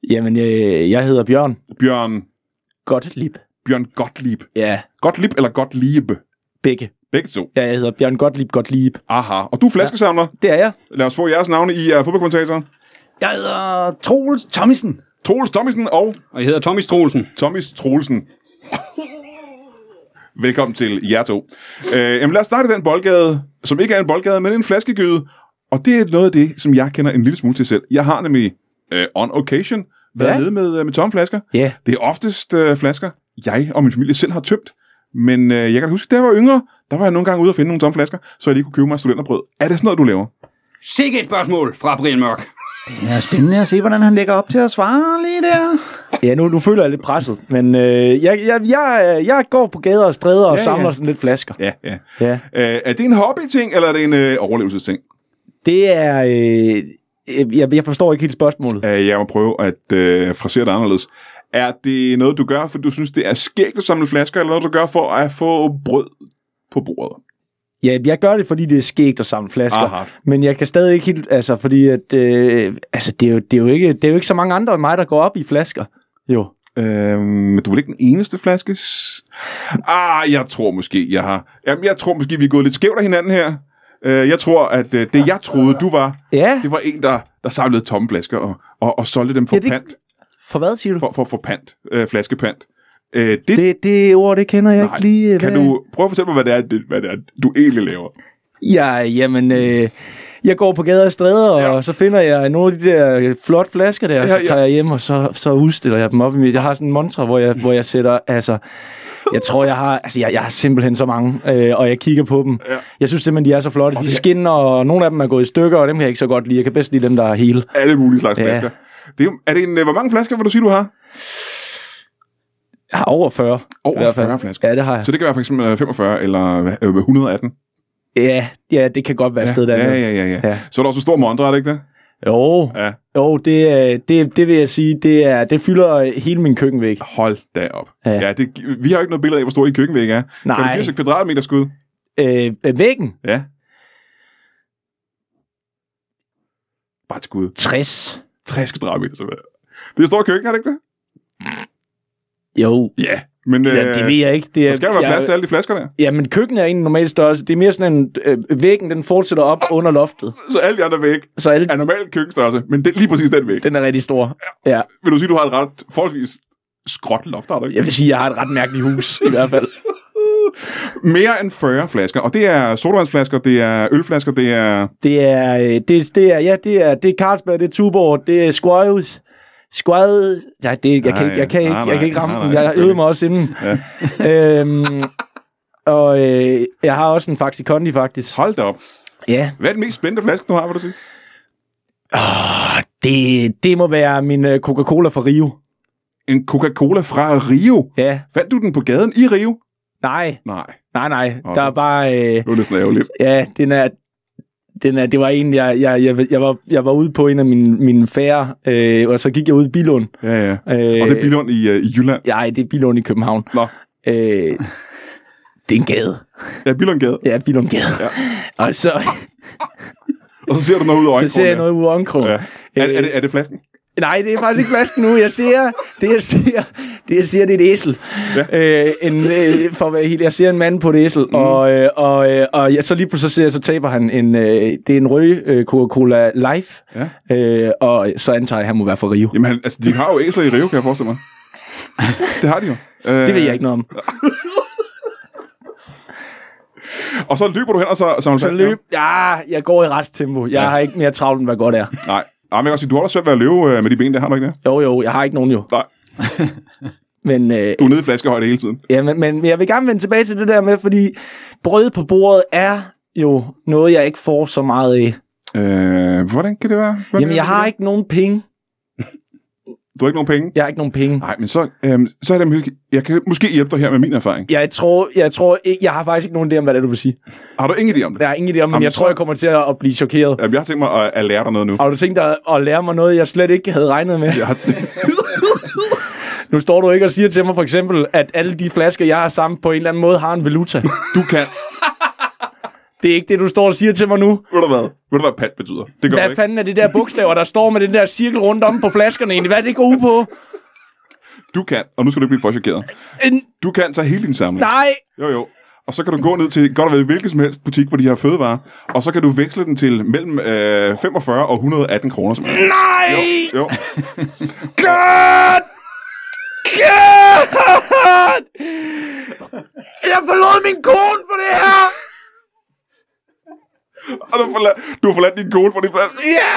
S2: Jamen, øh, jeg hedder Bjørn
S1: Bjørn,
S2: Gottlieb.
S1: Bjørn Gottlieb.
S2: Ja,
S1: Gottlieb eller Gottlieb?
S2: begge.
S1: Begge to.
S2: Ja, jeg hedder Bjørn Gottlieb Gottlieb.
S1: Aha. Og du er flaskesamler.
S2: Det er jeg.
S1: Ja. Lad os få jeres navne i uh, fodboldkommentatoren.
S5: Jeg hedder Troels Thommisen.
S1: Troels Tommisen og
S3: Og jeg hedder Tommy Strolsen.
S1: Thomas Troelsen. Velkommen til jer to. Uh, jamen lad os starte i den boldgade, som ikke er en boldgade, men en flaskegyde. Og det er noget af det, som jeg kender en lille smule til selv. Jeg har nemlig uh, on occasion været
S2: Ja.
S1: nede med, uh, med tomme flasker.
S2: Ja,
S1: Det er oftest øh, flasker, jeg og min familie selv har tømt. Men øh, jeg kan da huske, da jeg var yngre, der var jeg nogle gange ude og finde nogle tomme flasker, så jeg lige kunne købe mig studenterbrød. Er det sådan noget, du laver?
S3: Sikke et spørgsmål fra Brian Mørk.
S5: Det er spændende at se, hvordan han lægger op til at svare lige der.
S2: ja nu, nu føler jeg lidt presset. Men øh, jeg, jeg, jeg, øh, jeg går på gader og stræder og
S1: Ja,
S2: ja, samler
S1: ja.
S2: ja. sådan lidt flasker.
S1: Ja, ja.
S2: Ja.
S1: Øh, er det en hobby-ting, eller er det en øh, overlevelsesting?
S2: Det er... Øh, øh, jeg, jeg forstår ikke helt spørgsmålet.
S1: Øh, jeg må prøve at øh, frasere det anderledes. Er det noget, du gør, fordi du synes, det er skægt at samle flasker, eller noget, du gør for at få brød på bordet?
S2: Ja, jeg gør det, fordi det er skægt at samle flasker.
S1: Aha.
S2: Men jeg kan stadig ikke helt... Altså, fordi at... Øh, altså, det er, jo, det, er jo ikke, det er jo ikke så mange andre end mig, der går op i flasker. Jo.
S1: Øh, men du er vel ikke den eneste flaske? s- Ah, jeg tror måske, jeg har... Jamen, jeg tror måske, vi er gået lidt skævt af hinanden her. Øh, jeg tror, at øh, det, jeg troede, du var,
S2: Ja,
S1: det var en, der, der samlede tomme flasker og, og, og solgte dem for ja,
S2: Ja,
S1: det...
S2: det-
S1: pant.
S2: for hvad siger du?
S1: For, for, for pant. Øh, flaskepant. Øh, det, det
S2: Det, det ord, det kender jeg
S1: Nej,
S2: ikke lige.
S1: kan
S2: hvad-
S1: du... Prøv at fortælle mig, hvad det er, det, hvad det er du egentlig laver.
S2: Ja, jamen, øh, jeg går på gader og stræder, og
S1: Ja.
S2: så finder jeg nogle af de der flotte flasker der, og
S1: Ja,
S2: så
S1: ja.
S2: tager jeg hjem, og så, så udstiller jeg dem op i mit... Jeg har sådan en mantra, hvor jeg, hvor jeg sætter, altså... Jeg tror, jeg har, altså, jeg, jeg har simpelthen så mange, øh, og jeg kigger på dem.
S1: Ja.
S2: Jeg synes simpelthen, de er så flotte. De skinner, og nogle af dem er gået i stykker, og dem kan jeg ikke så godt lide. Jeg kan bedst lide dem, der er hele.
S1: Alle mulige slags ja.
S2: Ja.
S1: flasker. Det er, jo- er det en, øh, hvor mange flasker vil du sige, du har?
S2: Jeg har over 40.
S1: Over
S2: i hvert fald.
S1: 40 flasker.
S2: Ja, det har jeg.
S1: Så det kan være for eksempel øh, 45 eller øh, 118.
S2: Ja, ja, det kan godt være et sted der.
S1: ja, ja, ja, ja, ja.
S2: Ja.
S1: Så er der også en stor montre, er det ikke det?
S2: Jo,
S1: Ja.
S2: jo det, øh, det, det vil jeg sige, det, er, det fylder hele min køkkenvæg.
S1: Hold da op. Ja.
S2: Ja.
S1: ja det, gi- vi har jo ikke noget billede af, hvor stor de køkkenvæg er. Kan du
S2: Nej.
S1: give os et kvadratmeterskud?
S2: Øh, øh, væggen?
S1: Ja. Bare et skud.
S2: 60.
S1: 60 kvadratmeter, så Det er et stort køkken, er det ikke det?
S2: Jo.
S1: Ja. Men øh,
S2: Ja, det ved jeg ikke. Det er,
S1: der skal jo være
S2: jeg-
S1: plads til alle de flasker der.
S2: Ja, men køkkenet er egentlig normal størrelse. Det er mere sådan en... Øh, væggen, den fortsætter op under loftet.
S1: Så alle de andre væg
S2: Så alle,
S1: er normal køkkenstørrelse, men det, lige præcis den væg.
S2: den er rigtig stor. Ja.
S1: Vil du sige, du har et ret forholdsvis skråt loft, har du ikke?
S2: Jeg vil sige, jeg har et ret mærkeligt hus, i hvert fald.
S1: Mere end 40 flasker, og det er sodavandsflasker, det er ølflasker, det er...
S2: Det er... øh, Det, det er ja, det er, det er Carlsberg, det er Tuborg, det er Squires. Squad. Nej, det, jeg, kan,
S1: Nej,
S2: ikke- jeg, kan ikke,
S1: nej,
S2: jeg kan ikke
S1: nej,
S2: ramme
S1: nej,
S2: den.
S1: nej,
S2: Jeg øvede mig også inden. Ja. øhm, og øh, jeg har også en Faxi Kondi, faktisk.
S1: Hold da op.
S2: Ja,
S1: Hvad er den mest spændende flaske, du har, vil du sige?
S2: Ah, det, det må være min øh, Coca-Cola fra Rio.
S1: En Coca-Cola fra Rio.
S2: Ja,
S1: Fandt du den på gaden i Rio?
S2: nej,
S1: Nej,
S2: nej, nej.
S1: Nå,
S2: Der er
S1: det-
S2: bare... Øh,
S1: nu er det sådan ærgerligt.
S2: ja, den er... Den er, det var en, jeg, jeg, jeg, jeg, var, jeg var ude på en af mine, mine færre, øh, og så gik jeg ud i Bilund.
S1: Ja, ja.
S2: Øh,
S1: Og det er Bilund i, uh, i Jylland.
S2: Nej, det er Bilund i København.
S1: Nå,
S2: Øh, det er en gade.
S1: ja, Billundgade.
S2: Ja, Bilund Gade.
S1: Ja.
S2: Ja. Og så,
S1: Og så ser du noget ud af
S2: så
S1: øjenkrogen.
S2: ser jeg
S1: der.
S2: noget ud af øjenkrogen.
S1: Ja.
S2: Ja.
S1: Er, er, det, er det flasken?
S2: Nej, det er faktisk ikke flasken nu. Jeg ser, det jeg ser, det jeg ser, det er et æsel. Ja. Øh, en, øh, for at være helt, jeg ser en mand på et æsel, mm. og, øh, og, øh, og jeg, så lige pludselig så ser jeg, så taber han en, øh, det er en rød øh, Coca-Cola Life,
S1: Ja.
S2: øh, og så antager jeg, at han må være fra Rio.
S1: Jamen, han, altså, de har jo æsler i Rio, kan jeg forestille mig. Det har de jo. Øh,
S2: Det ved jeg ikke noget om.
S1: Og så løber du hen, og så samler
S2: Så løb, ja, jeg går i retstempo. Jeg har ikke mere travlt, end hvad godt er.
S1: Nej. Nej, men jeg kan også sige, du har da svært ved at løbe øh, med de ben der, har du ikke det?
S2: Jo, jo, jeg har ikke nogen jo.
S1: Nej.
S2: Men, øh,
S1: Du er nede i flaskehøjde hele tiden.
S2: Ja, men, men men jeg vil gerne vende tilbage til det der med, fordi brød på bordet er jo noget, jeg ikke får så meget af.
S1: Øh, hvordan kan det være? Hvordan
S2: Jamen, jeg har ikke nogen penge.
S1: Du har ikke nogen penge?
S2: Jeg har ikke nogen penge.
S1: Nej, men så, øhm, så er det måske... Jeg kan måske hjælpe dig her med min erfaring.
S2: Jeg tror, jeg tror ikke, jeg har faktisk ikke nogen idé om, hvad det er, du vil sige.
S1: Har du ingen idé om det?
S2: Der er ingen idé om, men
S1: Jamen,
S2: jeg
S1: så-
S2: tror, jeg kommer til at at blive chokeret.
S1: Jamen, jeg har tænkt mig at, at lære dig noget nu.
S2: Har du tænkt dig at lære mig noget, jeg slet ikke havde regnet med?
S1: Jeg har,
S2: Nu står du ikke og siger til mig for eksempel, at alle de flasker, jeg har sammen på en eller anden måde, har en valuta.
S1: du kan...
S2: Det er ikke det, du står og siger til mig nu.
S1: Ved du hvad? Ved du hvad pat betyder? Det gør
S2: Hvad
S1: ikke.
S2: fanden er det der bogstaver, der står med den der cirkel rundt om på flaskerne egentlig? Hvad er det går ud på?
S1: Du kan, og nu skal du ikke blive for chokeret.
S2: En...
S1: Du kan tage hele din samling.
S2: Nej!
S1: Jo, jo. Og så kan du gå ned til godt og vel hvilken som helst butik, hvor de har fødevarer, og så kan du veksle den til mellem øh, 45 og 118 kroner. Som Nej! Jo, jo.
S2: God! God! Jeg forlod min kone for det her!
S1: Og du har forladt, du har forladt din kone for din flaske.
S2: Ja!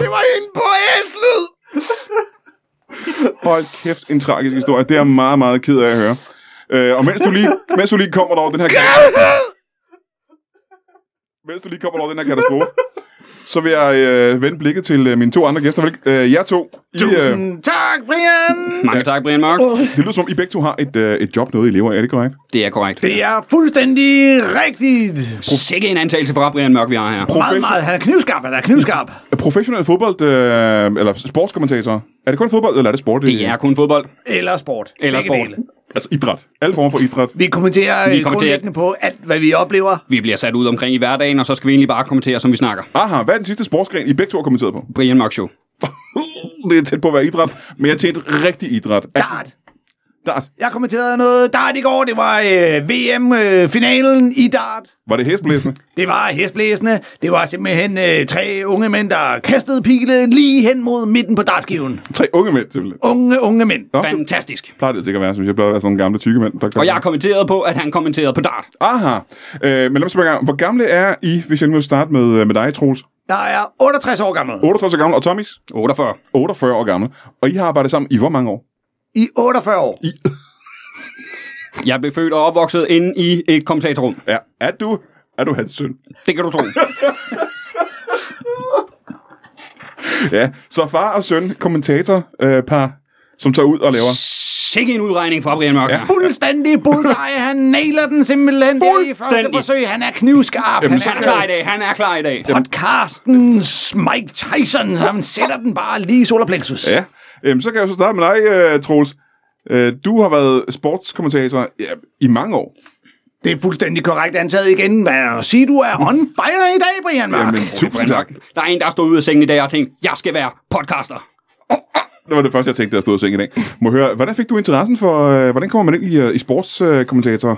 S2: Det var hende på æslet!
S1: Hold kæft, en tragisk historie. Det er jeg meget, meget ked af at høre. Øh, og mens du, lige, mens du lige kommer over den her mens du lige kommer over den her katastrofe, så vil jeg øh, vende blikket til øh, mine to andre gæster. Vel, øh, jer to, I, øh,
S5: Tusind tak, Brian!
S3: Mange tak, Brian Mørk.
S1: det lyder som om, I begge to har et, øh, et job, noget I lever af. Er det korrekt?
S3: Det er korrekt.
S5: Det er fuldstændig rigtigt.
S3: Sikke en antagelse fra Brian Mørk, vi har her.
S5: Meget, meget. Han er knivskarp, han er knivskarp.
S1: Professionelle fodbold, øh, eller sportskommentatorer. Er det kun fodbold, eller er det sport?
S3: Det er kun fodbold.
S5: Eller sport.
S3: Eller
S5: Begge
S3: sport.
S5: dele.
S1: Altså idræt. Alle former for idræt.
S5: Vi kommenterer
S3: Vi
S5: vi
S3: kommenterer-
S5: grundlæggende på alt, hvad vi oplever.
S3: Vi bliver sat ud omkring i hverdagen, og så skal vi egentlig bare kommentere, som vi snakker.
S1: Aha, hvad er den sidste sportsgren, I begge to har kommenteret på?
S3: Brian Mørk Show.
S1: det er tæt på at være idræt, men jeg tænkte rigtig idræt. Er det-
S5: Dart.
S1: Dart.
S5: Jeg kommenterede noget dart i går. Det var øh, VM-finalen i dart.
S1: Var det hæsblæsende?
S5: Det var hestblæsende. Det var simpelthen øh, tre unge mænd, der kastede pile lige hen mod midten på dartskiven.
S1: Tre unge mænd, simpelthen.
S5: Unge, unge mænd.
S3: Fantastisk.
S1: Plejer det sikkert at være, synes jeg. Plejer at være sådan nogle gamle tykke mænd. Der kommer-
S3: Og jeg har kommenteret på, at han kommenterede på dart.
S1: Aha. Øh, men lad mig spørge en gang. Hvor gamle er I, hvis jeg nu vil starte med, med dig, Troels?
S5: Der er 68 år gammel.
S1: 38 år gammel, og Thomas?
S3: 48.
S1: 48 år gammel. Og I har arbejdet sammen i hvor mange år?
S5: I 48 år.
S3: Jeg blev født og opvokset inde i et kommentatorrum.
S1: Ja. Er du, er du hans søn?
S3: Det kan du tro.
S1: Ja, så far og søn, kommentator, øh, par, som tager ud og laver.
S3: Sikke en udregning fra Brian Mørk.
S1: Ja.
S3: her.
S5: Fuldstændig bullseye. Han nailer den simpelthen der i første
S3: Fuldstændig.
S5: forsøg. Han er knivskarp.
S1: Jamen, så
S5: han
S3: Han er klar i dag. Han er klar i dag.
S5: Podcastens Mike Tyson. Han sætter den bare lige i solarplexus.
S1: Ja. Øhm, så kan jeg jo så starte med dig, øh, Troels. Øh, du har været sportskommentator ja, i mange år.
S5: Det er fuldstændig korrekt antaget igen. Hvad er sige, du er on fire i dag, Brian Mark.
S1: Jamen, tusind
S3: Brian
S1: tak.
S3: Mørk. Der er en, der stod ude af sengen i dag og tænkte, jeg skal være podcaster.
S1: Det var det første, jeg tænkte, da jeg stod og seng i dag. Må jeg høre, hvordan fik du interessen for, øh, hvordan kommer man ind i, øh, i sportskommentator? Øh,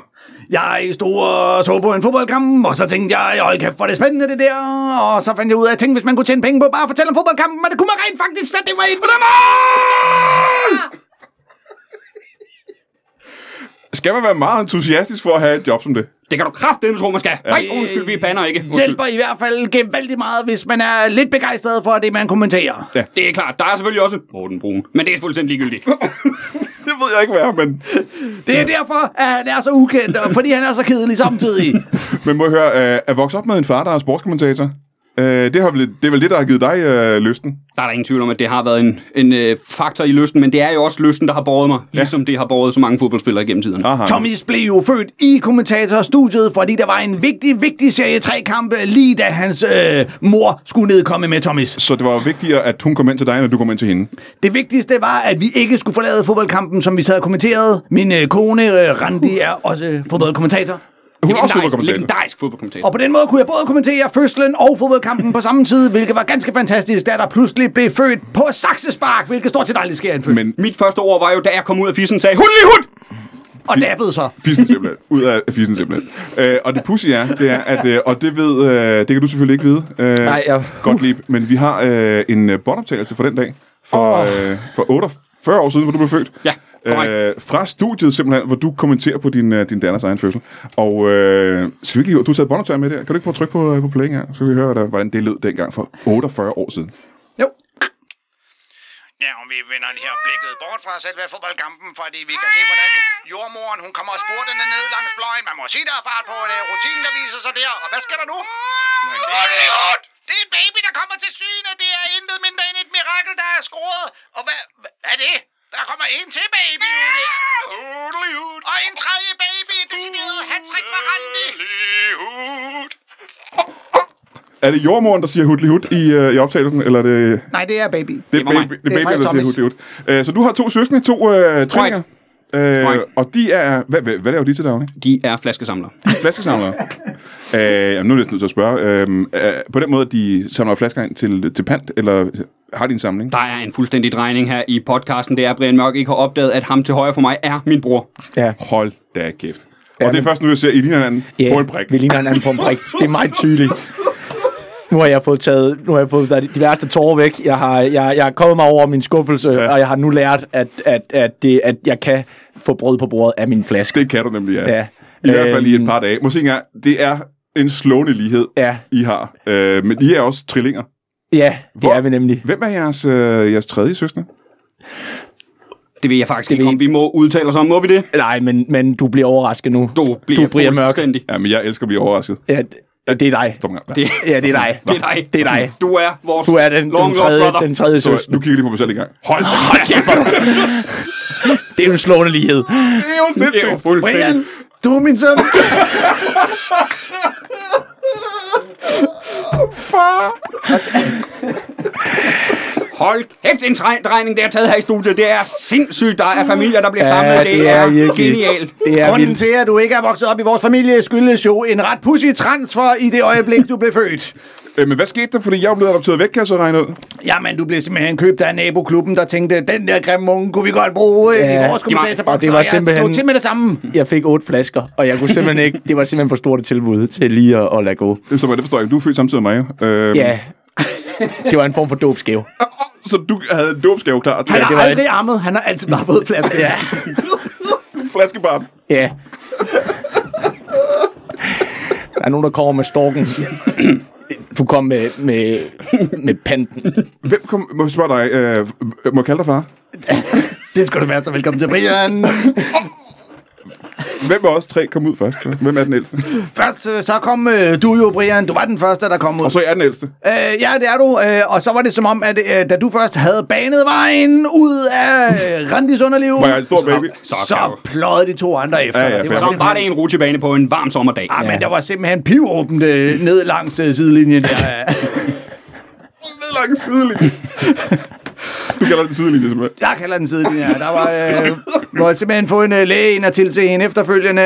S5: Jeg stod og så på en fodboldkamp, og så tænkte jeg, hold kæft, hvor er det spændende det der. Og så fandt jeg ud af, at tænkte, hvis man kunne tjene penge på bare at fortælle om fodboldkampen, men det kunne man rent faktisk, at det var et mål!
S1: Skal man være meget entusiastisk for at have et job som det?
S3: Det kan du kraftedeme tro, man skal. Nej, undskyld, vi pander ikke. Undskyld.
S5: Hjælper i hvert fald gevaldigt meget, hvis man er lidt begejstret for det, man kommenterer.
S3: Det er klart. Der er selvfølgelig også Morten Brun. Men det er fuldstændig ligegyldigt.
S1: Det ved jeg ikke, hvad er, men,
S5: Det er derfor, at han er så ukendt, og fordi han er så kedelig samtidig.
S1: men må jeg høre, øh, at vokse op med en far, der er sportskommentator, øh, det, har vel, det er vel det, der har givet dig øh, lysten?
S3: Der er der ingen tvivl om, at det har været en, en øh, faktor i lysten, men det er jo også lysten, der har båret mig, ja. ligesom det har båret så mange fodboldspillere gennem tiden.
S1: Aha.
S5: Thomas blev jo født i kommentatorstudiet, fordi der var en vigtig, vigtig serie 3-kampe, lige da hans øh, mor skulle nedkomme med Thomas.
S1: Så det var jo vigtigere, at hun kom ind til dig, end at du kom ind til hende.
S5: Det vigtigste var, at vi ikke skulle forlade fodboldkampen, som vi sad og kommenterede. Min øh, kone, øh, Randi, er også øh, fodboldkommentator.
S1: Hun er også
S3: Legendarisk,
S1: fodboldkommentator.
S3: legendarisk fodboldkommentator.
S5: Og på den måde kunne jeg både kommentere fødslen og fodboldkampen på samme tid, hvilket var ganske fantastisk, da der pludselig blev født på saksespark, hvilket stort set aldrig sker i en fødsel.
S1: Men
S3: Mit første ord var jo, da jeg kom ud af fissen, sagde, hund lige hund!
S5: Og dabbede så.
S1: Fissen simpelthen. Ud af fissen simpelthen. Øh, og det pussy er, det er, at, øh, og det ved, øh, det kan du selvfølgelig ikke vide, øh,
S2: Nej, jeg-
S1: godt lib, men vi har øh, en øh, båndoptagelse fra den dag, for, oh. øh, for 48 år siden, hvor du blev født.
S3: Ja, korrekt.
S1: Øh, fra studiet simpelthen, hvor du kommenterer på din, øh, din datters egen fødsel. Og øh, skal vi ikke lige, du har taget båndoptager med der, kan du ikke prøve at trykke på, øh, på play her, så kan vi høre, der, hvordan det lød dengang for 48 år siden.
S5: Jo.
S6: Ja, og vi vender her blikket bort fra selve fodboldkampen, fordi vi kan se, hvordan jordmoren hun kommer spurtende ned langs fløjen. Man må sige, der er fart på en rutine, der viser sig der. Og hvad sker der nu? Det er en baby, der kommer til syne. Det er intet mindre end et mirakel, der er scoret. Og hvad, hvad er det? Der kommer en til baby ud der. Og en tredje baby, et decideret hat-trick for Randi.
S1: Er det jordmoren, der siger hudli hud i, øh, i optagelsen, eller er det...
S5: Nej, det er baby.
S1: Det
S3: Det
S1: er
S3: var
S1: baby,
S3: mig.
S1: det er
S5: Det er
S1: baby der
S5: faktisk
S1: siger
S5: Thomas.
S1: hud, det er hud. Øh, Så du har to søskende, to øh, trillinger. Øh,
S3: Korrekt.
S1: og de er... Hvad, hvad, hvad laver de til daglig?
S3: De er flaskesamlere.
S1: De er flaskesamlere. øh, jamen, nu er jeg næsten nødt til at spørge. Øh, øh, på den måde, at de samler flasker ind til, til pant, eller har de en samling?
S3: Der er en fuldstændig drejning her i podcasten. Det er, at Brian Mørk ikke har opdaget, at ham til højre for mig er min bror.
S2: Ja.
S1: Hold da kæft. Og det er først nu, jeg ser, I ligner hinanden yeah. på en prik.
S2: vi ligner hinanden på en prik. Det er meget tydeligt. Nu har jeg fået taget, nu har jeg fået været de værste tårer væk. Jeg har, jeg, jeg er kommet mig over min skuffelse, ja. og jeg har nu lært, at, at, at, det, at jeg kan få brød på bordet af min flaske.
S1: Det kan du nemlig, ja.
S2: Ja.
S1: I hvert fald i
S2: Øhm.
S1: et par dage. Måske engang, det er en slående lighed,
S2: Ja.
S1: I har. Øh, men I er også trillinger.
S2: Ja, det
S1: Hvor-
S2: er vi nemlig.
S1: Hvem er jeres, øh, jeres tredje søskende?
S3: Det ved jeg faktisk
S2: Det
S3: ikke,
S2: ved
S3: om
S2: jeg-
S3: vi må udtale os om. Må vi det?
S2: Nej, men, men du bliver overrasket nu.
S3: Du bliver,
S2: du bliver mørk.
S3: fuldstændig-
S1: Ja, men jeg elsker at blive overrasket.
S2: Ja, det, det er dig.
S1: Stop en gang.
S3: Det,
S2: Ja, det er dig.
S3: det er dig.
S2: Det er dig.
S3: Du er vores
S2: Du er den,
S3: long
S2: den
S3: lost
S2: tredje,
S3: brother.
S2: den tredje
S1: Så
S2: søster.
S1: nu kigger jeg lige på mig selv i gang.
S2: Hold, hold kæft, hvor du- Det er jo en slående lighed.
S1: Det er jo
S3: Det er jo
S1: sindssygt.
S3: fuldstændig.
S5: Brian, du er min søn.
S3: Hold kæft, en tre- drejning, det er taget her i studiet. Det er sindssygt. Der er familier, der bliver samlet.
S2: Ja,
S3: det, er, genialt.
S2: Det er
S5: Grunden
S2: vildt.
S5: til, at du ikke er vokset op i vores familie, skyldes jo en ret pussy transfer i det øjeblik, du blev født.
S1: Øh, men hvad skete der? Fordi jeg blev adopteret væk, kan jeg så regne ud.
S5: Jamen, du blev simpelthen købt af naboklubben, der tænkte, den der grimme unge kunne vi godt bruge ja,
S2: Ja,
S5: i vores
S3: det var-
S5: kommentatorboks,
S2: og det var
S5: og jeg
S2: simpelthen-
S5: slog til med det samme.
S2: Jeg fik otte flasker, og jeg kunne simpelthen ikke, det var simpelthen for stort et tilbud til lige at, at lade gå.
S1: Jamen, Så var det forstår jeg. ikke. Du er født samtidig med mig. jo. Øh,
S2: Ja, det var en form for dobskæv.
S1: Så du havde en dåbsgave klar.
S5: Han
S1: Ja,
S5: har
S2: det var
S5: aldrig ammet, han har altid bare fået flaske.
S2: Ja.
S1: flaskebarn.
S2: Ja. Der er nogen, der kommer med storken. Du kom med, med, med panten.
S1: Hvem kom, må jeg spørge dig, øh, må jeg kalde dig far?
S5: Det skulle du være, så velkommen til Brian.
S1: Hvem af os tre kom ud først? Hvem er den ældste?
S5: Først øh, så kom øh, du jo, Brian. Du var den første, der kom ud.
S1: Og så er jeg den ældste.
S5: Øh, ja, det er du. Øh, og så var det som om, at øh, da du først havde banet vejen ud af øh, Randis underliv,
S1: Var jeg en stor baby?
S3: Så, så,
S5: så pløjede de to andre efter.
S1: Ja, ja,
S5: dig.
S1: fair.
S5: det var
S3: så var
S5: simpelthen,
S3: det en rutsjebane på en varm sommerdag.
S5: ah, men der var simpelthen pivåbent øh, ned langs øh, sidelinjen. Der.
S1: Ned langs sidelinje. Du kalder den sidelinje, simpelthen.
S5: Jeg kalder den sidelinje. ja. Der var, øh, måtte simpelthen få en øh, læge ind og tilse en efterfølgende.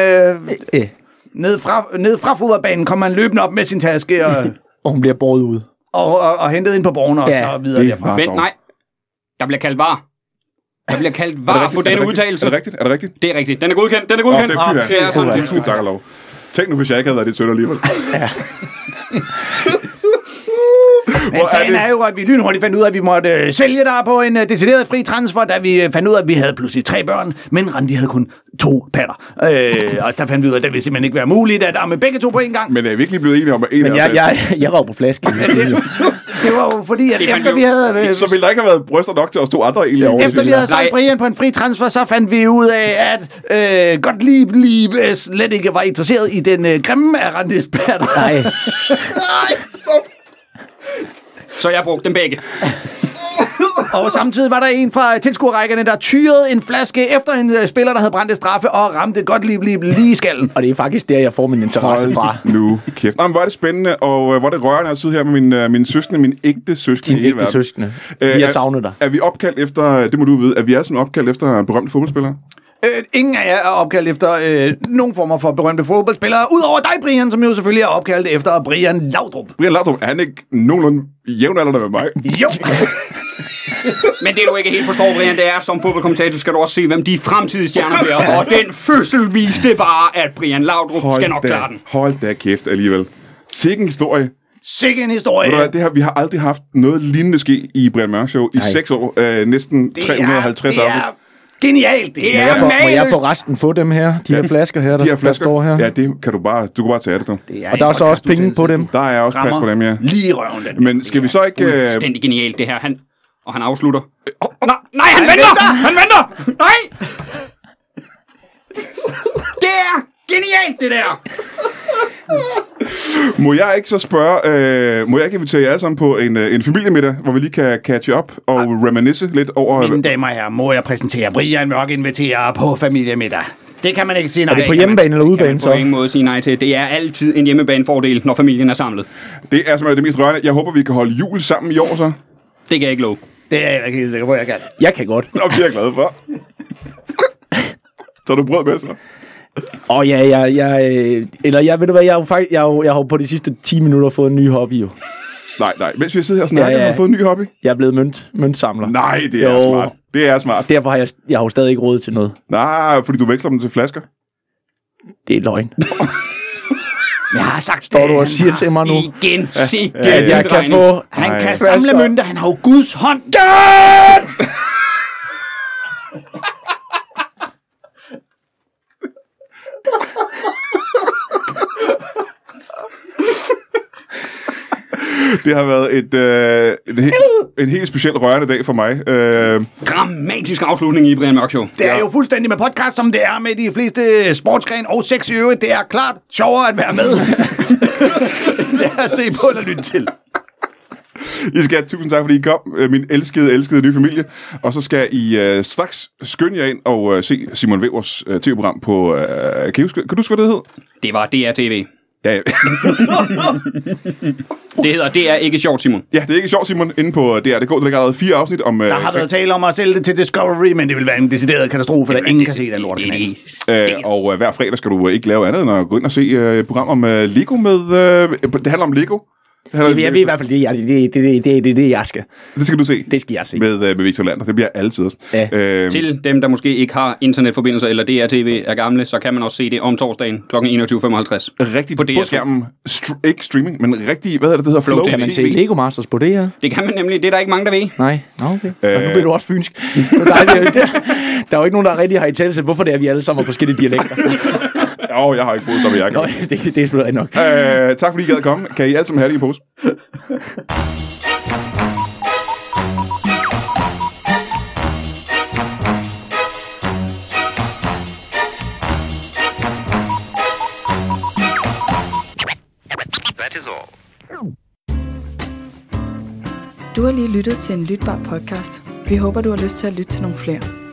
S5: Øh,
S2: Øh,
S5: ned, fra, ned fra fodboldbanen kom han løbende op med sin taske og,
S2: og hun bliver båret ud.
S5: og, og, og hentede ind på borgen og
S2: Ja,
S5: så videre
S1: det
S5: derfra.
S1: var-
S3: Vent,
S1: Ah, dog.
S3: nej. Der bliver kaldt var. Der bliver kaldt var på
S1: er
S3: denne
S1: det
S3: udtalelse.
S1: Er det rigtigt? Er det rigtigt?
S3: Det er rigtigt. Den er godkendt. Den er
S1: Åh,
S3: godkendt.
S1: det er pyha.
S3: det er sådan.
S1: Det
S3: Det
S1: er tusind tak og lov. Tænk nu, hvis jeg ikke havde været dit søn alligevel.
S5: Men sagen er, er jo, at vi lynhurtigt fandt ud af, at vi måtte øh, sælge dig på en øh, decideret fri transfer, da vi øh, fandt ud af, at vi havde pludselig tre børn, men Randi havde kun to patter. Øh, og der fandt vi ud af, at det ville simpelthen ikke være muligt, at der med begge to på en gang.
S1: Men er vi ikke lige blevet enige om, at en
S7: Men
S1: af os
S7: jeg,
S1: er-
S7: jeg, jeg var jo på flaske.
S5: Det var jo fordi, at
S3: Det var
S5: efter
S3: jo-
S5: vi havde... øh,
S1: Så ville der ikke have været bryster nok til os to andre egentlig over.
S5: Efter vi havde
S3: Nej.
S5: solgt Brian på en fri transfer, så fandt vi ud af, at øh, godt lige, lige øh, slet ikke var interesseret i den øh, grimme af Randis patter.
S7: Nej,
S3: Så jeg brugte dem begge.
S5: Og samtidig var der en fra tilskuerrækkerne, der tyrede en flaske efter en øh, spiller, der havde brændt et straffe og ramte godt lige, lige, lige i skallen.
S7: og det er faktisk der, jeg får min interesse fra.
S1: Nu kæft. Nå, men hvor er det spændende, og øh, hvor er det rørende at sidde her med min, øh, min søskende, min ægte søskende
S2: Dine
S1: i hele
S2: ægte
S1: verden.
S2: søskende.
S1: Øh,
S7: Vi har
S1: er-
S7: savnet dig.
S1: Er vi opkaldt efter, det må du vide, er vi alle sammen opkaldt efter berømte fodboldspillere?
S5: Øh, ingen af jer er opkaldt efter øh, nogen former for berømte fodboldspillere, udover dig, Brian, som jo selvfølgelig er opkaldt efter Brian Laudrup.
S1: Brian Laudrup, er han ikke nogenlunde jævnaldrende med mig?
S5: Jo!
S3: Men det du ikke helt forstår, Brian, det er, som fodboldkommentator skal du også se, hvem de fremtidige stjerner bliver. Og den fødsel viste bare, at Brian Laudrup Hold skal nok
S1: da,
S3: klare den.
S1: Hold da kæft alligevel. Sikke en historie.
S5: Sikke en
S1: Ved
S5: historie!
S1: du hvad, det her, vi har aldrig haft noget lignende ske i Brian Mørk Show i 6 år. Øh, næsten
S5: Det er-
S1: 350
S5: det
S1: afsnit.
S5: er genialt, det
S3: Det
S5: her.
S3: er
S2: Må, må jeg
S3: mageløst.
S2: få resten få dem her? De her flasker her, der,
S1: De her flasker,
S2: der står her.
S1: ja, det kan du bare, du kan bare tage det, du.
S5: Det
S2: og der er
S5: en
S2: så også penge på
S5: podcastudsendelse,
S2: dem.
S1: Der er også pat
S5: rammer
S1: på dem, ja.
S5: Lige i røven, den.
S1: Men skal vi så ikke... Øh,
S3: Stændig genialt, det her. Han, og han afslutter. Nå, nej, han venter! Han venter! Nej! Det er genialt, det der!
S1: må jeg ikke så spørge... Øh, må jeg ikke invitere jer alle sammen på en, øh, en familiemiddag, hvor vi lige kan catch up og reminisce lidt over...
S5: Mine damer og herrer, må jeg præsentere Brian Mørk inviterer på familiemiddag. Det kan man ikke sige nej.
S2: Er det på
S5: til.
S2: hjemmebane eller
S3: Kan man
S2: udebane
S3: på
S2: så?
S3: ingen måde sige nej til. Det er altid en hjemmebanefordel, når familien er samlet.
S1: Det er simpelthen det mest rørende. Jeg håber, vi kan holde jul sammen i år, så.
S3: Det kan jeg ikke love.
S5: Det er jeg ikke helt sikker på, jeg kan.
S7: Jeg kan godt.
S1: Og vi er glade for. så er du brød med, så.
S7: Åh oh, ja, jeg, jeg, øh, eller jeg, ved du hvad, jeg har jo faktisk, jeg har, jo- jeg har jo på de sidste 10 minutter fået en ny hobby jo.
S1: Nej, nej. Mens vi sidder her og snakker, ja,
S7: Ja,
S1: ja.
S7: ja.
S1: har du fået en ny hobby?
S7: Jeg er blevet mønt, møntsamler.
S1: Nej, det er
S7: Jo.
S1: smart. Det er smart.
S7: Derfor har jeg, jeg har jo stadig ikke råd til noget.
S1: Nej, fordi du veksler dem til flasker.
S7: Det er løgn.
S5: Jeg har sagt,
S2: Står du og siger til mig nu,
S3: Igen, sikke
S1: ja,
S2: at jeg kan få...
S5: Han
S1: Ej.
S5: kan samle mønter, han har jo Guds hånd.
S1: Det har været et, øh, en, he- en helt speciel rørende dag for mig. Øh,
S3: Dramatisk afslutning i Brian Mørk Show.
S5: Det er jo fuldstændig med podcast, som det er med de fleste sportsgren og sex i øvrigt. Det er klart sjovere at være med. det er at se på og lytte til.
S1: I skal have tusind tak, fordi I kom, øh, min elskede, elskede nye familie. Og så skal I øh, straks skynde jer ind og øh, se Simon Wevers øh, tv-program på... Øh, kan, I huske, kan du huske, hvad det hed?
S3: Det var DRTV.
S1: Ja, ja.
S3: Det hedder Det er ikke sjovt, Simon.
S1: ja, det er ikke sjovt, Simon. Inde på DR.dk, der ligger allerede fire afsnit om... Øh,
S5: Der har været tale om at sælge det til Discovery, men det vil være en decideret katastrofe, da ingen kan se den lorte kanal.
S1: Øh, og øh, hver fredag skal du øh, ikke lave andet end at gå ind og se øh, et program om øh, Lego med... Øh, det handler om Lego. Det, handler
S7: Jeg, jeg ved i hvert fald, det er det, det, det, det, det, det, det, jeg skal.
S1: det skal du se.
S7: Det skal jeg se.
S1: Med, øh, med Victor Lander. Det bliver altid.
S7: Ja.
S1: Øh,
S3: Til dem, der måske ikke har internetforbindelser eller DRTV er gamle, så kan man også se det om torsdagen kl. 21.55.
S1: rigtig
S3: på
S1: på,
S3: DR2.
S1: på skærmen. Str- ikke streaming, men rigtig... Hvad hedder det? Det hedder Flow,
S3: Flow TV.
S1: TV.
S3: Kan man
S2: Se Lego Masters på det her?
S3: Det kan man nemlig. Det er der ikke mange, der ved.
S2: Nej. Nå, okay.
S7: Og nu bliver du også fynsk. Det er jo dejligt. Der, der er jo ikke nogen, der rigtig har i tale til, hvorfor det er, vi alle sammen har forskellige dialekter.
S1: Åh, oh, jeg har ikke boet sammen med jer.
S7: Nå,
S1: kan
S7: det, det er selvfølgelig nok.
S1: jeg. Øh, tak fordi I gad at komme. Kan I alle sammen have det i en pose?
S8: Du har lige lyttet til en lytbar podcast. Vi håber, du har lyst til at lytte til nogle flere.